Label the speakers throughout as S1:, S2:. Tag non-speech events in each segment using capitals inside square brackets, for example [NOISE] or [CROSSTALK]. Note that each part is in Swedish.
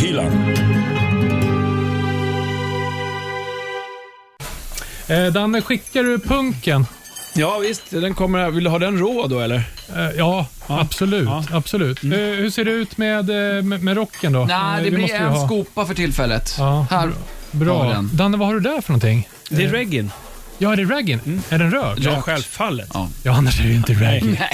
S1: bilar.
S2: Eh, Danne, skickar du punken?
S1: Ja visst, den kommer här. Vill du ha den rå då eller?
S2: Eh, ja, absolut.
S1: Ja.
S2: absolut. Eh, hur ser det ut med, eh, med, med rocken då? Eh,
S3: Nej, det blir
S2: måste vi
S3: en
S2: ha.
S3: skopa för tillfället.
S2: Ja.
S3: Här. har
S2: Bra.
S3: den.
S2: Danne, vad har du där för någonting?
S4: Det är reggin.
S2: Ja, är det raggen? Är den röd?
S1: Ja, självfallet.
S2: Ja, annars är det ju inte raggen. [LAUGHS]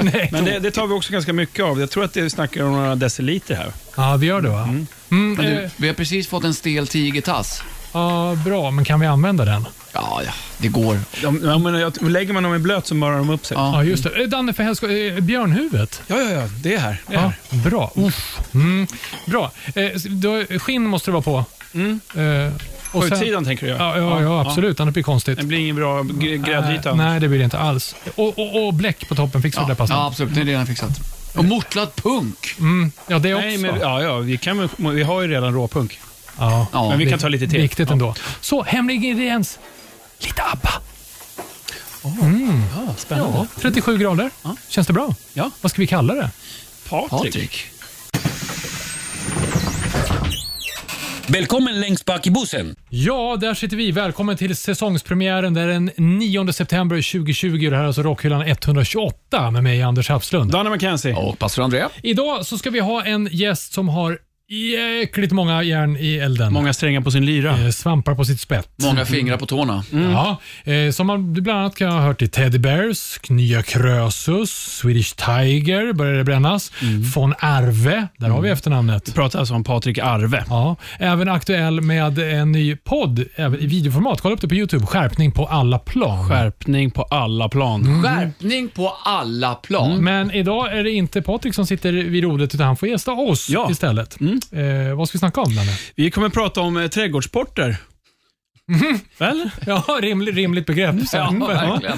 S3: Nej.
S1: Men det, det tar vi också ganska mycket av. Jag tror att det snackar om några deciliter här.
S2: Ja, vi gör det va? Mm,
S3: Men
S2: eh,
S3: du, vi har precis fått en stel tigertass.
S2: ja, bra, men kan vi använda den?
S3: Ja, ja, det går.
S1: De, jag menar, jag, lägger man dem i blöt så mörar de upp sig.
S3: Ja.
S2: Ja, just det. Eh, Danne, för helskotta, eh, björnhuvudet?
S1: ja, ja, ja, det är här. Det är
S2: Ja,
S1: här.
S2: bra. Uff. Mm, bra. Eh, s- då, skinn måste det vara på. Eh, och sen-
S1: Utsidan tänker du göra?
S2: Ja, ja, ja, absolut. Annars blir det konstigt.
S1: Det blir ingen bra gr- gräddyta.
S2: Nej, nej, det blir det inte alls. Och, och, och bläck på toppen. Fixar du det
S3: Ja,
S2: pastan?
S3: ja, absolut. Det är redan fixat. Och mortlad punk.
S2: Mm, ja, det också.
S1: Nej, men, ja, ja, vi, kan, väl- vi har ju redan råpunk.
S2: ja.
S3: Ja,
S1: Men vi
S2: det-
S1: kan ta lite till.
S2: Viktigt ändå. Så, hemlig ingrediens. Lite ABBA.
S1: Ja, spännande.
S2: Ja, 37 grader. Känns det bra?
S1: Ja.
S2: Vad ska vi kalla det?
S1: Patrik.
S3: Patrik.
S4: Välkommen längst bak i bussen.
S2: Ja, där sitter vi. Välkommen till säsongspremiären. Det är den 9 september 2020 och det här är alltså Rockhyllan 128 med mig Anders Hafslund.
S1: Danne McKenzie.
S3: Och pastor André.
S2: Idag så ska vi ha en gäst som har jäkligt många järn i elden.
S1: Många strängar på sin lyra.
S2: Eh, Svampar på sitt spett.
S3: Många fingrar på tårna.
S2: Ja, eh, som man bland annat kan ha hört i Teddy Bears, Nya Krösus, Swedish Tiger började det brännas, von Arve, där har vi efternamnet.
S1: Pratar alltså om Patrik Arve.
S2: Ja, även aktuell med en ny podd även i videoformat. Kolla upp det på Youtube. Skärpning på alla plan.
S1: Skärpning på alla plan.
S3: Mm. Skärpning på alla plan.
S2: Men idag är det inte Patrik som sitter vid rodret utan han får gästa oss
S1: Ja.
S2: istället. Eh, vad ska vi snacka om Danne?
S1: Vi kommer prata om eh, trädgårdssporter. Väl?
S2: Ja, rimligt, rimligt begrepp. Så.
S3: Ja, verkligen.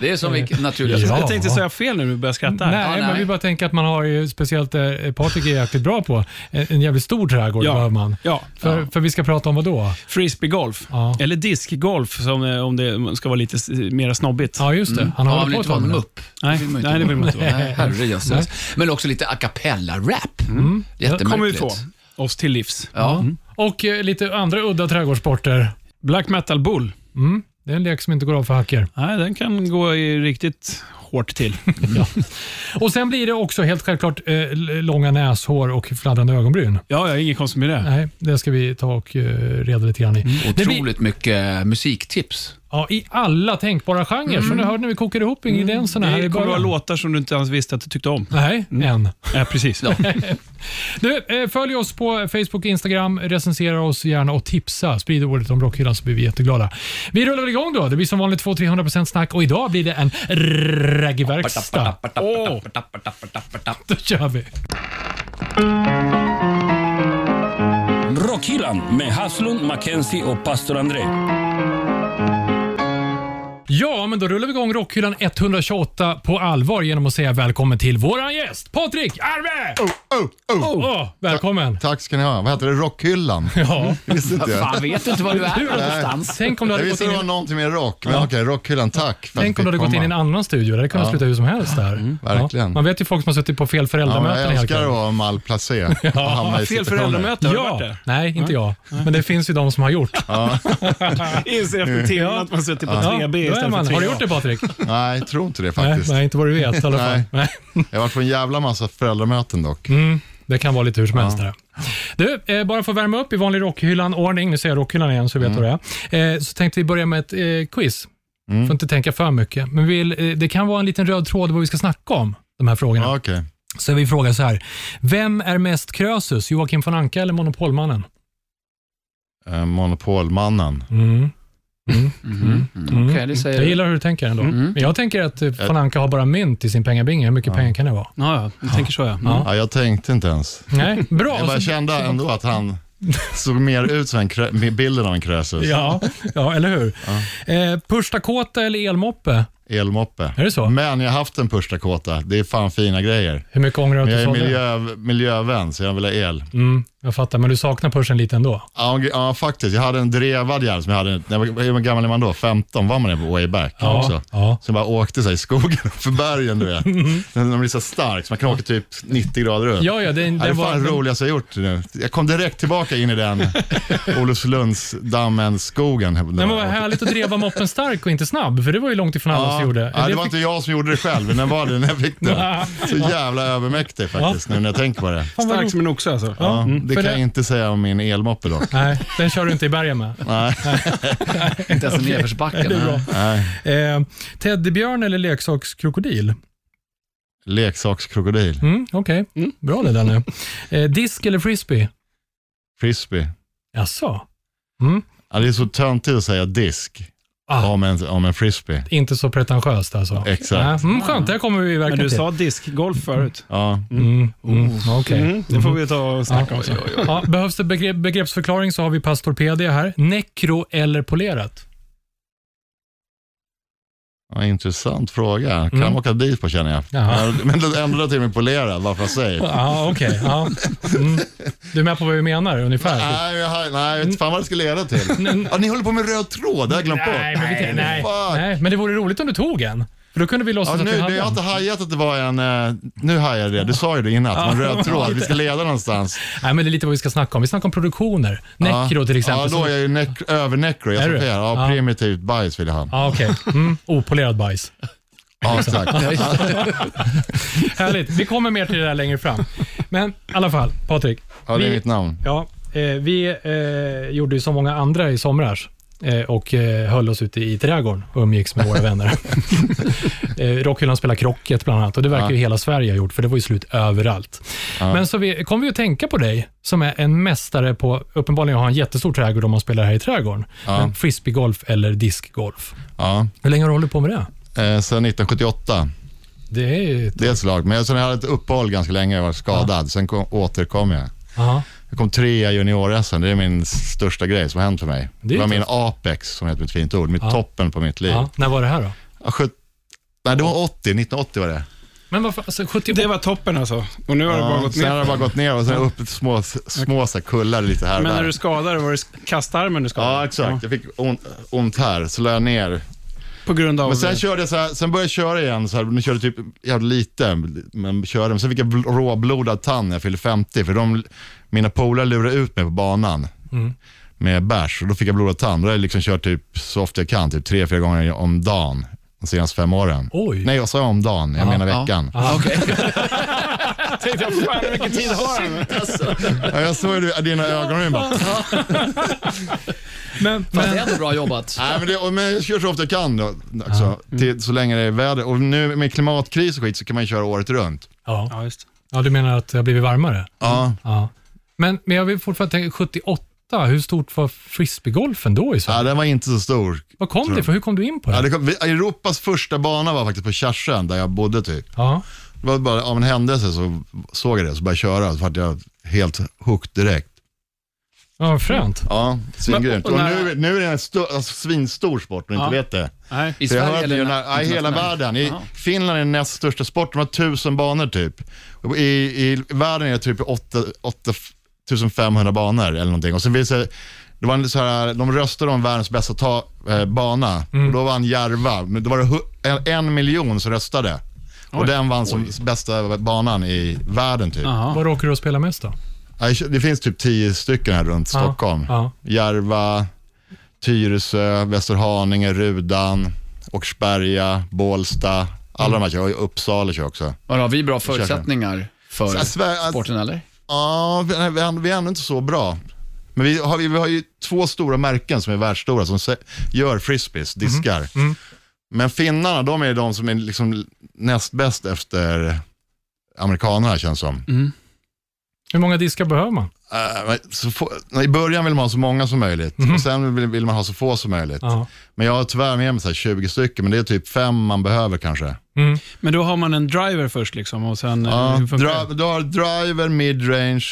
S3: Det är som vilket naturligt.
S2: Mm. Ja.
S1: Alltså, Jag tänkte säga fel nu när du börjar skratta.
S2: Nej,
S1: här.
S3: Ja,
S2: men
S3: nej.
S2: vi bara tänker att man har ju, speciellt eh, Patrik är jäkligt bra på, eh, en, en jävligt stor trädgård
S1: Ja.
S2: behöver man.
S1: Ja,
S2: För, för vi ska prata om vad då?
S1: frisbeegolf.
S2: Ja.
S1: Eller diskgolf som, eh, om det ska vara lite s- mer snobbigt.
S2: Ja, just det. Han
S3: Ja,
S2: har
S3: man
S2: hållit
S3: vill
S2: på
S3: inte
S2: ett tag
S3: vara en
S1: Nej,
S2: med det.
S3: mupp. vill man inte
S1: nej, det vill man inte vara.
S3: Nej, herrejösses. Men också lite a cappella-rap.
S2: Mm.
S1: Det kommer vi
S3: Jättemärkligt.
S1: få oss till livs.
S3: Ja.
S2: Och eh, lite andra udda trädgårdssporter.
S1: Black metal bull.
S2: Mm. Det är en lek som inte går av för hacker.
S1: Nej, den kan gå i riktigt hårt till.
S2: Och sen blir det också helt självklart eh, l- långa näshår och fladdrande ögonbryn.
S1: [LAUGHS] Ja, ja, inget konstigt med det.
S2: Nej, det ska vi ta och eh, reda lite grann i.
S1: Mm,
S2: Det blir,
S3: Otroligt mycket musiktips.
S2: ja, I alla tänkbara genrer. Så ni hörde när vi kokade ihop ingredienserna här i
S1: Mm. Det kommer vara Mm.
S2: början.
S1: låtar som du inte ens visste att du tyckte
S2: [LAUGHS]
S1: om.
S2: Nej, än.
S1: Ja, precis.
S2: Du, eh, följ oss på Facebook, Instagram, recensera oss gärna och tipsa. Sprid ordet om Rockhyllan så blir vi jätteglada. Vi rullar väl igång då. Det blir som vanligt 200-300% snack och idag blir det en raggiverkstad.
S1: Åh.
S2: Då kör vi.
S4: Rockhyllan med Haslund, Mackenzie och pastor André.
S2: Ja, men då rullar vi igång Rockhyllan 128 på allvar genom att säga välkommen till våran gäst, Patrik Arve!
S5: Oh.
S2: Åh, välkommen!
S5: Tack ska ni ha. Vad heter
S2: [LAUGHS]
S5: det? Rockhyllan?
S2: Ja,
S5: Visste inte jag.
S3: Fan, vet du inte var du är någonstans?
S2: tänk om du
S5: Jag
S2: hade gått
S5: visste
S2: in
S5: det
S2: i,
S5: var någonting med rock, men okej, rockhyllan, tack. för att
S2: tänk om du
S5: jag
S2: hade
S5: fick
S2: gått in i en
S5: komma. Mm.
S2: annan studio. Det hade kunnat sluta hur som helst där.
S5: verkligen.
S2: Ja, man vet ju folk som har suttit på fel
S5: Ja, men
S2: föräldramöten
S5: jag
S2: hela
S5: älskar att
S2: kvällen. [LAUGHS]
S5: vara malplacé och hamna
S1: Fel
S5: i situationer.
S1: föräldramöte, har du
S2: ja,
S1: varit det?
S2: Nej, inte jag. Men det finns ju de som har gjort.
S1: [LAUGHS] Inser efter timmen att man suttit på
S2: Ja,
S1: 3B
S2: då är
S1: Alltså, istället
S2: man.
S1: för 3A.
S2: Har du gjort det Patrik?
S1: [LAUGHS]
S5: Nej, jag tror inte det
S2: Nej,
S5: faktiskt.
S2: nej, inte vad du vet i alla fall.
S5: Nej.
S2: Nej.
S5: Jag har varit på en jävla massa föräldramöten dock.
S2: Mm. Det kan vara lite hur som helst. det där. Du, eh, bara för att värma upp i vanlig Rockhyllan-ordning, nu säger jag Rockhyllan igen så vi vet
S1: Mm.
S2: vad det är, eh, så tänkte vi börja med ett eh, quiz. Får inte tänka för mycket. Men vi vill, eh, det kan vara en liten röd tråd vad vi ska snacka om, de här frågorna.
S5: Ja, Okej.
S2: Så vi frågar så här, vem är mest Krösus, Joakim von Anka eller Monopolmannen?
S5: Eh, Monopolmannen.
S2: Mm.
S5: Mm.
S3: Okej, det säger
S5: Eh,
S2: Jag
S3: du.
S2: gillar hur du tänker ändå. Men jag tänker att eh, von Anka har bara mynt i sin pengabinge. Hur mycket pengar kan det vara?
S1: Ja, ja, jag tänker så ja. Mm.
S5: Ja, jag tänkte inte ens.
S2: Nej, bra.
S5: Jag bara
S2: Så- [LAUGHS]
S5: kände ändå att han såg mer ut som en krö- med bilden av en krösus.
S2: Ja, ja, eller hur? Eh, Pushtakåta eller elmoppe?
S5: Elmoppe.
S2: Är det så?
S5: Men jag har haft en Pushtakåta. Det är fan fina grejer.
S2: Hur mycket ångrar du
S5: Men
S2: att
S5: jag
S2: du sålde?
S5: är miljö, miljövän, så jag vill ha el.
S2: Jag fattar, men du saknar pushen lite ändå.
S5: Ja, g- ja, faktiskt. Jag hade en drevad järn som jag hade, när jag var, hur gammal är man då? 15 var man det på way back
S2: Ja,
S5: också.
S2: ja. Mm.
S5: Som bara åkte så här, i skogen [LAUGHS] för bergen, du vet. Den den blir så stark, så man kan åka typ 90 grader upp.
S2: Ja, ja, den,
S5: Ja, det är
S2: den var...
S5: fan det roligaste jag gjort nu. Jag kom direkt tillbaka in
S2: [LAUGHS]
S5: i den Olofsdammen, skogen.
S2: Nej, men vad härligt att driva moppen stark och inte snabb, för det var ju långt ifrån alla
S5: Ja,
S2: som gjorde.
S5: ja, det
S2: Det
S5: var
S2: fick-
S5: inte jag som gjorde det själv, men den var det när jag
S2: [LAUGHS]
S5: fick den. Så jävla övermäktig faktiskt, nu när jag tänker på det.
S2: Fan, vad
S1: Stark
S2: roligt.
S1: som en oxe alltså.
S5: Ja, det
S2: Mm. för
S5: kan jag
S2: det-
S5: inte säga om min
S2: [LAUGHS]
S5: elmoppe dock.
S2: Nej, den kör du inte i bergen med.
S5: Nej.
S3: Inte
S5: [LAUGHS]
S3: ens i nedförsbacken.
S2: Det är bra.
S5: Nej.
S2: Eh, teddybjörn eller leksakskrokodil?
S5: Leksakskrokodil,
S2: Mm, Okej, bra det där nu. Eh, disk eller frisbee?
S5: frisbee.
S2: Jaså?
S5: Ja, det är så töntigt att säga disk
S2: Ah.
S5: om, en, om en frisbee.
S2: Inte så pretentiöst alltså.
S5: Exakt.
S2: Nej, Mm, skönt, det här kommer vi
S1: Men
S2: verkligen
S1: du
S2: till.
S1: sa diskgolf förut.
S5: Ja.
S2: Mm, mm, okej.
S1: Mm, det får vi ta och snacka om sen.
S2: Ja, behövs det begrepp, begreppsförklaring så har vi Pastorpedia här. Nekro eller polerat?
S5: Ja, intressant fråga. Kan
S2: Mm.
S5: åka dit på känner jag.
S2: Ja.
S5: Men det ändrar till mig polerad, varför jag säger.
S2: Ja, okej. Ja. Mm. Du är med på vad vi menar ungefär?
S5: Nej, jag, har- nej, jag vet fan vad det ska
S2: [LAUGHS]
S5: leda till. Ja, ni håller på med röd tråd, det har jag glömt bort.
S2: Nej, men, vi, nej,
S5: Fuck.
S2: nej, men det vore roligt om du tog en. För då kunde vi
S5: Ja,
S2: låtsas
S5: nu,
S2: att vi
S5: nu,
S2: hade
S5: jag har
S2: en.
S5: inte hajat att det var en... eh, Nu hajar jag det. Du sa ju det innan, att det var en röd tråd. Vi ska leda någonstans.
S2: Nej, men det är lite vad vi ska snacka om. Vi snackar om produktioner. [LAUGHS] Necro
S5: Ja.
S2: till exempel.
S5: Ja, då är jag ju nek- över-necro. Jag
S2: Är
S5: är
S2: du?
S5: ja,
S2: Ja.
S5: primitivt bajs vill jag ha.
S2: Ja, okej. Mm. Opolerad bajs.
S5: [LAUGHS] Ja, exakt.
S2: Härligt. Vi kommer mer till det där längre fram. Men i alla fall, Patrik.
S5: Ja, det är
S2: Vi-
S5: mitt namn.
S2: Ja, eh, vi eh, gjorde ju som många andra i somras eh, och eh, höll oss ute i trädgården och umgicks [LAUGHS] med våra vänner. eh, Rockhyllan spelade krocket bland annat och det verkar ju hela Sverige ha gjort för det var ju slut överallt. Men så vi, kom vi att tänka på dig som är en mästare på, uppenbarligen har en jättestor trädgård om man spelar här i trädgården, men frisbeegolf eller diskgolf.
S5: Ja.
S2: Hur länge har du hållit på med det?
S5: Eh, sen 1978,
S2: Det är ju...
S5: det är ett slag. Men sen jag hade ett uppehåll ganska länge, jag var skadad. Sen kom, återkom jag.
S2: Aha.
S5: Jag kom trea i junior-SM, det är min största grej som har hänt för mig.
S2: Det är
S5: Det var
S2: ju
S5: min apex, som heter ett fint ord, mitt toppen på mitt liv.
S2: Ja, när var det här då?
S5: Ja, sjut- Nej, det var 80, 1980 var det.
S2: Men varför, alltså 70...
S1: Det var toppen alltså. Och nu har det bara
S5: Ja,
S1: gått
S5: sen har
S1: ner.
S5: det bara gått ner och sen upp små, små så här kullar lite här och
S1: Men när
S5: där.
S1: du skadade var det kastarmen du skadade?
S5: Ja, exakt. Jag fick ont, ont här, så la jag ner.
S1: På grund av...
S5: Men sen körde jag så här, sen började jag köra igen, så här, men jag körde typ jävligt lite, men körde. Men sen fick jag bl- råblodad tand när jag fyllde 50, för de, mina polare lurade ut mig på banan med bärs och då fick jag blodad tand. Då har jag liksom kört typ så ofta jag kan, typ tre, fyra gånger om dagen de senaste fem åren.
S2: Oj.
S5: Nej, jag sa om dagen, jag menar veckan.
S3: Ah, okej.
S1: tänkte jag, fan vilken tid har han?
S5: Ja, jag såg ju dina ögon och bara,
S2: Men,
S3: Fast
S2: men,
S3: det är ändå bra jobbat.
S5: Nej, men, det, och- men jag kör så ofta jag kan då, också, till, så länge det är väder. Och nu med klimatkris och skit så kan man ju köra året runt.
S2: ja.
S1: Ja, just.
S2: Ja, du menar att det har blivit varmare?
S5: Ja.
S2: Ja. Men, men jag vill fortfarande tänka, 78, hur stort var frisbeegolfen då i Sverige?
S5: ja, den var inte så stor.
S2: Vad kom det ifrån? Hur kom du in på det?
S5: Ja,
S2: Ja,
S5: det kom, vi- Europas första bana var faktiskt på Kärsön där jag bodde typ.
S2: ja.
S5: Det var bara av en händelse så såg jag det så började jag köra så vart jag helt hooked direkt.
S2: vad fränt.
S5: Ja, svingrymt.
S1: och
S5: Och
S1: när-
S5: nu, nu är det en stor, alltså, svinstor sport och inte
S1: Ja.
S5: vet det.
S1: Nej.
S3: I
S5: För jag
S3: Sverige
S5: hörde
S3: eller
S5: ju när, ja, i hela
S3: internationellt?
S5: världen. I
S3: Jaha.
S5: Finland är den näst största sporten, de har tusen banor typ. Och I, I världen är det typ 8 8500 banor eller någonting. Och sen vill säga, det var en så här, de röstade om världens bästa ta, eh, bana
S3: Mm.
S5: och då vann Järva. Men då var det hu- en, en miljon som röstade. Och den vann som bästa banan i världen typ.
S2: Var råkar du att spela mest då?
S5: Ja, Det finns typ tio stycken här runt Stockholm.
S2: ja.
S5: Järva, Tyresö, Västerhaninge, Rudan, Åkersberga, Bålsta. Alla de här kör jag. Uppsala kör Alltså, jag också.
S3: Men har vi bra förutsättningar för
S5: Så Sverige- att-
S3: sporten eller?
S5: Ja, vi, vi, är- vi är ännu inte så bra. Men vi har, vi har ju två stora märken som är världsstora som se, gör frisbees,
S2: Mhm.
S5: diskar.
S2: Mm.
S5: Men finnarna, de är de som är liksom näst bäst efter amerikanerna känns som.
S2: Hur många diskar behöver man?
S5: Eh, men så få, nej, I början vill man ha så många som möjligt och sen vill, vill man ha så få som möjligt.
S2: Mhm. Ja.
S5: Men jag har tyvärr med mig så här 20 stycken, men det är typ fem man behöver kanske.
S2: Mm.
S1: Men då har man en driver först liksom och sen...
S5: Ja,
S1: hur funkar
S5: dra,
S1: det?
S5: du har driver, midrange,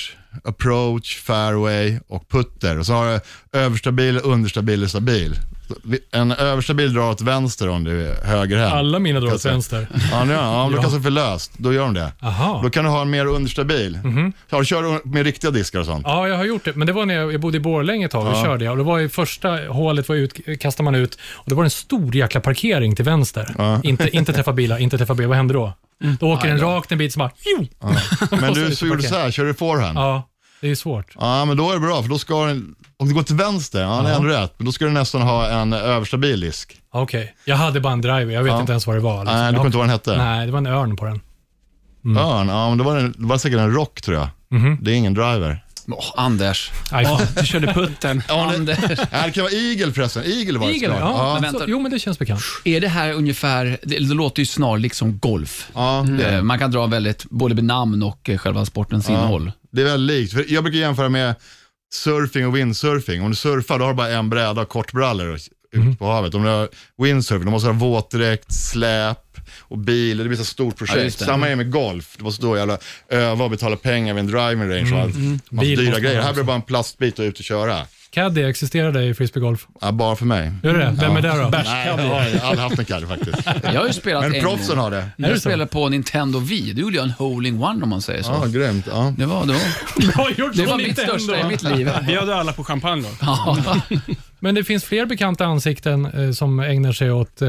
S5: approach, fairway och putter. Och så har du överstabil, understabil och stabil. En överstabil drar åt vänster om du är högerhänt.
S2: Alla mina drar åt
S5: Kan jag
S2: vänster.
S5: Ja, nu, ja, om du
S2: Ja.
S5: kastar för löst, då gör de det.
S2: Aha. Mhm.
S5: Då kan du ha en mer understabil. Ja, du kör med riktiga diskar och sånt.
S2: Ja, jag har gjort det. Men det var när jag jag bodde i Borlänge ett tag. Då körde jag. Och det var i första hålet var ut, kastade man ut och det var en stor jäkla parkering till vänster. Inte, inte träffa bilar, inte träffa bilar. Vad hände då?
S5: Mm.
S2: Då åker den rakt en bit som bara... Jo! Ja. [LAUGHS]
S5: Men du så gjorde så här, kör du forehand? Ja.
S2: det är svårt.
S5: men då är det bra, för då ska den, om det går till vänster, ja, det är ändå rätt, men då ska du nästan ha en överstabil disk.
S2: Okej. Jag hade bara en driver. Jag vet inte ens vad det var. liksom.
S5: Nej, du
S2: Jag-
S5: kommer inte ihåg vad den hette?
S2: Nej, Mm. det var en örn på den.
S5: Örn, ja men det var, en, det var säkert en rock tror jag.
S2: Mhm.
S5: Det är ingen driver. [LAUGHS]
S3: Åh, Anders.
S2: Aj, fan.
S1: Du körde putten.
S5: [LAUGHS]
S3: Anders.
S5: Ja, det kan vara igel förresten, igel var det
S2: Igel,
S5: såklart.
S2: ja.
S5: ja.
S3: Men vänta.
S2: Så, jo, men det känns bekant.
S3: Är det här ungefär, det, det låter ju snarlikt som golf.
S5: Ja, det,
S3: Eh, Man kan dra väldigt, både med namn och eh, själva sportens innehåll.
S5: det är väldigt likt. För jag brukar jämföra med surfing och windsurfing. Om du surfar då har du bara en bräda och kortbrallor och- ut på havet. Om du har windsurfing då måste du ha våtdräkt, släp och bil. Det blir så stort
S3: Ja,
S5: projekt.
S3: just det.
S5: Samma är med golf. Du måste då jävla öva och betala pengar vid en driving range och allt. Massa
S2: Bil
S5: dyra
S2: måste man
S5: grejer.
S2: ha
S5: Här blir det bara en plastbit och ut och köra.
S2: Caddy existerar det i frisbeegolf?
S5: Ja, bara för mig.
S2: Gör det det? Vem är det då?
S5: Nej, jag har aldrig haft en kaddy faktiskt.
S3: Jag har ju spelat
S5: [LAUGHS] Men
S3: en
S5: proffsen
S3: gång.
S5: har det.
S2: Är det
S3: Jag
S2: så?
S3: spelade på Nintendo Wii. Då gjorde jag en hole-in-one om man säger så.
S5: Ja, grymt. Ja.
S3: Det var, det var,
S2: Bra gjort,
S3: det var
S2: från
S3: mitt
S2: Nintendo.
S3: största i mitt
S5: [LAUGHS]
S3: liv.
S1: Bjöd du alla på champagne då?
S3: Ja.
S2: Men det finns fler bekanta ansikten eh, som ägnar sig åt... Eh,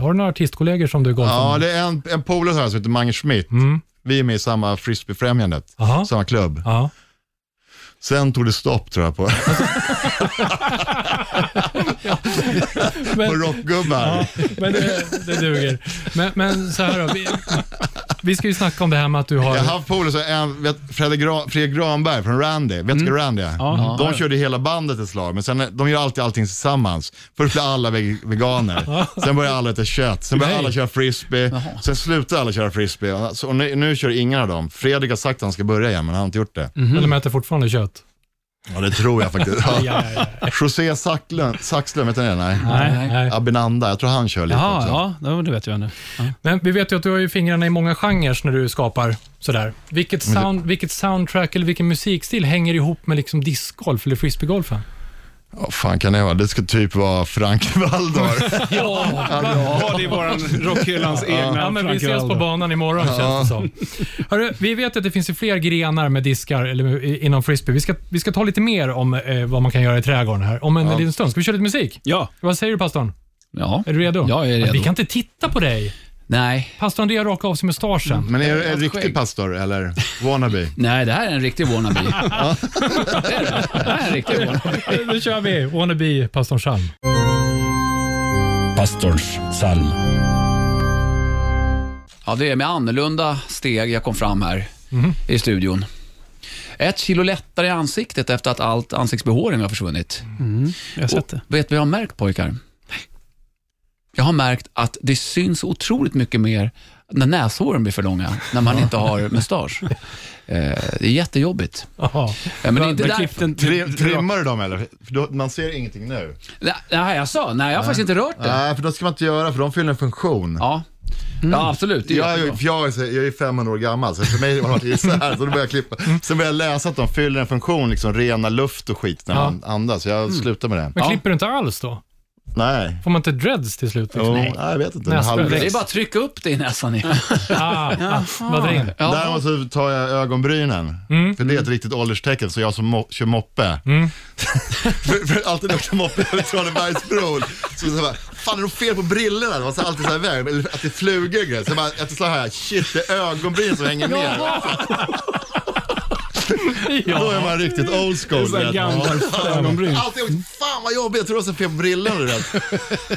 S2: har du några artistkollegor som du golfar
S5: Ja,
S2: med?
S5: det är en, en polare här som heter Mange Schmidt. Vi är med i samma frisbeefrämjandet,
S2: Aha.
S5: samma klubb.
S2: Ja.
S5: Sen tog det stopp tror jag på, [LAUGHS] på
S2: Men,
S5: rockgubbar.
S2: men det, det duger. Men, men så här då. Vi, vi ska ju snacka om det här med att du har...
S5: Jag har haft polare, som en- vet, Fredrik, Gra- Fredrik Granberg från Randy, vet du vilka Randy är? De körde hela bandet ett slag, men sen, de gör alltid allting tillsammans. Först blir alla veg- veganer, sen börjar alla äta kött, sen börjar
S2: Nej.
S5: alla köra frisbee, sen slutar alla köra frisbee. Och, så, och nu, nu kör ingen av dem. Fredrik har sagt att han ska börja igen, men han har inte gjort det.
S2: Eller mäter fortfarande kött.
S5: Ja, det tror jag faktiskt. Ja.
S2: Ja, ja, ja.
S5: José Sacklund, Saxlund, vet ni det? Nej.
S1: Nej.
S2: Nej.
S5: Abinanda, jag tror han kör lite
S1: Jaha,
S5: också.
S1: ja, då- det vet jag nu.
S2: Men vi vet ju att du har ju fingrarna i många genrer när du skapar sådär. Vilket, sound, vilket soundtrack eller vilken musikstil hänger ihop med liksom discgolf eller frisbeegolfen?
S5: Vad fan kan det vara? Det ska typ vara Frank Valdor.
S2: Ja,
S1: Ja, det är våran rockhyllans egna
S2: Ja, men vi
S1: Frank
S2: ses på
S1: Valdo.
S2: banan imorgon känns det som. Hörru, vi vet att det finns ju fler grenar med diskar eller med- i- inom frisbee. Vi ska, vi ska ta lite mer om eh, vad man kan göra i trädgården här om en liten stund. Ska vi köra lite musik?
S1: Ja.
S2: Vad säger du pastorn?
S3: ja.
S2: Är du redo?
S3: Jag är
S2: Men Vi
S3: redo.
S2: kan inte titta på dig.
S3: Nej.
S2: Pastorn Andrea rakade av sig mustaschen.
S5: Men är du en
S3: Ett
S5: riktig
S3: skägg.
S5: pastor eller wannabe?
S3: Nej, det här är en riktig wannabe. [LAUGHS] Det är det. Det här är en riktig wannabe.
S2: [LAUGHS] Nu kör vi. Wannabe pastorn Chalm.
S4: Pastorns psalm.
S3: Ja, det är med annorlunda steg jag kom fram här i studion. Ett kilo lättare i ansiktet efter att allt ansiktsbehåring har försvunnit.
S1: Jag har sett det.
S3: Och vet du vad jag har märkt pojkar? Jag har märkt att det syns otroligt mycket mer när näshåren blir för långa, när man inte har mustasch. Eh, det är jättejobbigt.
S2: Jaha.
S3: Eh, Men det är inte
S1: Du
S3: därför.
S1: klippte en-
S5: Tri-
S1: du-
S5: Trimmar du dem eller? För då, man ser ingenting nu.
S3: Nej, Nej, jag sa, nej, jag har faktiskt inte rört det.
S5: Nej, för då ska man inte göra för de fyller en funktion.
S3: Ja, ja absolut. Det är
S5: Jag, är ju-
S3: jättebra.
S5: för jag, är, så- jag är 500 år gammal, så för mig har det varit så här. Så då började jag klippa. Sen började jag läsa att de fyller en funktion, liksom rena luft och skit när man andas. Jag slutar med det.
S2: Men
S3: Ja.
S2: klipper du inte alls då?
S5: Nej.
S2: Får man inte dreads till slut?
S5: Jo,
S2: Liksom?
S5: nej, jag vet inte. En
S2: Nästa
S5: halv-
S3: det är bara att trycka upp det i näsan igen.
S2: Ah, ah, vad drar in.
S3: Ja.
S5: Däremot så tar jag ögonbrynen,
S1: Mm.
S5: för det är ett riktigt ålderstecken, så jag som mo- kör moppe. [LAUGHS] för, för alltid när jag åkte moppe över Tranebergsbron, så så bara, fan är det fel på brillorna? Det var så alltid så här iväg, eller att det är flugor och grejer. Så jag bara, jag så här, shit det är ögonbryn som hänger ner. [LAUGHS] Då är man riktigt old school.
S1: Det är så här
S5: vet.
S1: gamla ögonbryn.
S5: Alltid, åkt, fan vad jobbigt, jag tror det var så fel på brillorna. du vet.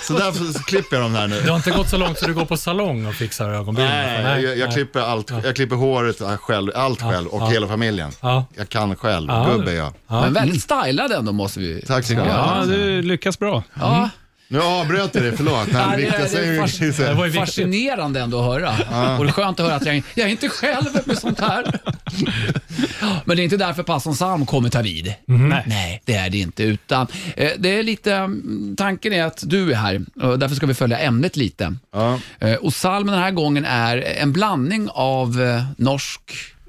S5: Så därför så klipper jag dem här nu.
S2: Det har inte gått så långt så du går på salong och fixar ögonbrynen?
S5: Nej, jag, jag, klipper allt, jag klipper håret äh, själv, allt själv och hela familjen.
S2: Ja.
S5: Jag kan själv,
S2: Ja.
S5: gubbe är jag.
S3: Men väldigt stylad ändå måste vi...
S5: Tack så mycket.
S1: Ja, du lyckas bra.
S3: Ja,
S5: Nu avbröt jag dig, förlåt. Nej,
S3: det-
S5: det
S3: det-
S5: viktigaste är ju-
S2: Det var ju viktigt.
S3: fascinerande ändå att höra. Och det är skönt att höra att jag, jag är inte själv med sånt här. Men det är inte därför Passon Salm kommer ta vid. Nej. det är det inte. Utan eh, det är lite, mm, tanken är att du är här och därför ska vi följa ämnet lite.
S5: Ja.
S3: Eh, Och salmen den här gången är en blandning av eh, norsk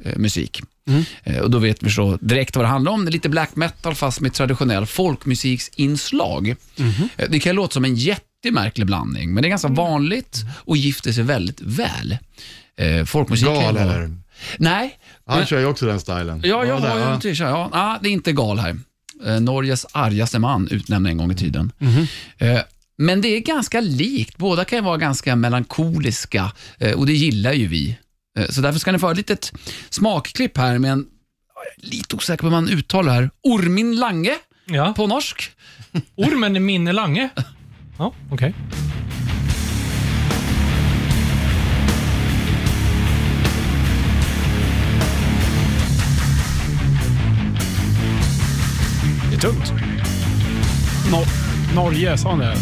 S3: eh, musik
S5: Mm.
S3: Eh, Och då vet vi så direkt vad det handlar om. Det är lite black metal fast med traditionell folkmusiksinslag.
S5: Mhm.
S3: Eh, Det kan låta som en jättemärklig blandning, men det är ganska
S5: Mm.
S3: vanligt och gifter sig väldigt väl. Eh, Folkmusik kan ju
S5: Gal
S3: vara-
S5: eller?
S3: Nej,
S5: Han kör ju också den stilen.
S3: Ja, jag
S5: där,
S3: har ju en t-shirt. Ja, ah, det är inte gal här. Eh, Norges argaste man utnämnd en gång i tiden. Eh, men det är ganska likt. Båda kan ju vara ganska melankoliska eh, och det gillar ju vi. Eh, så därför ska ni få ett litet smakklipp här med en, jag är lite osäker på hur man uttalar här, Ormin Lange
S2: Ja.
S3: på norsk.
S2: Ormen är Minne Lange. Ja, okej.
S1: Det är tungt. Nor Norge, sa han det?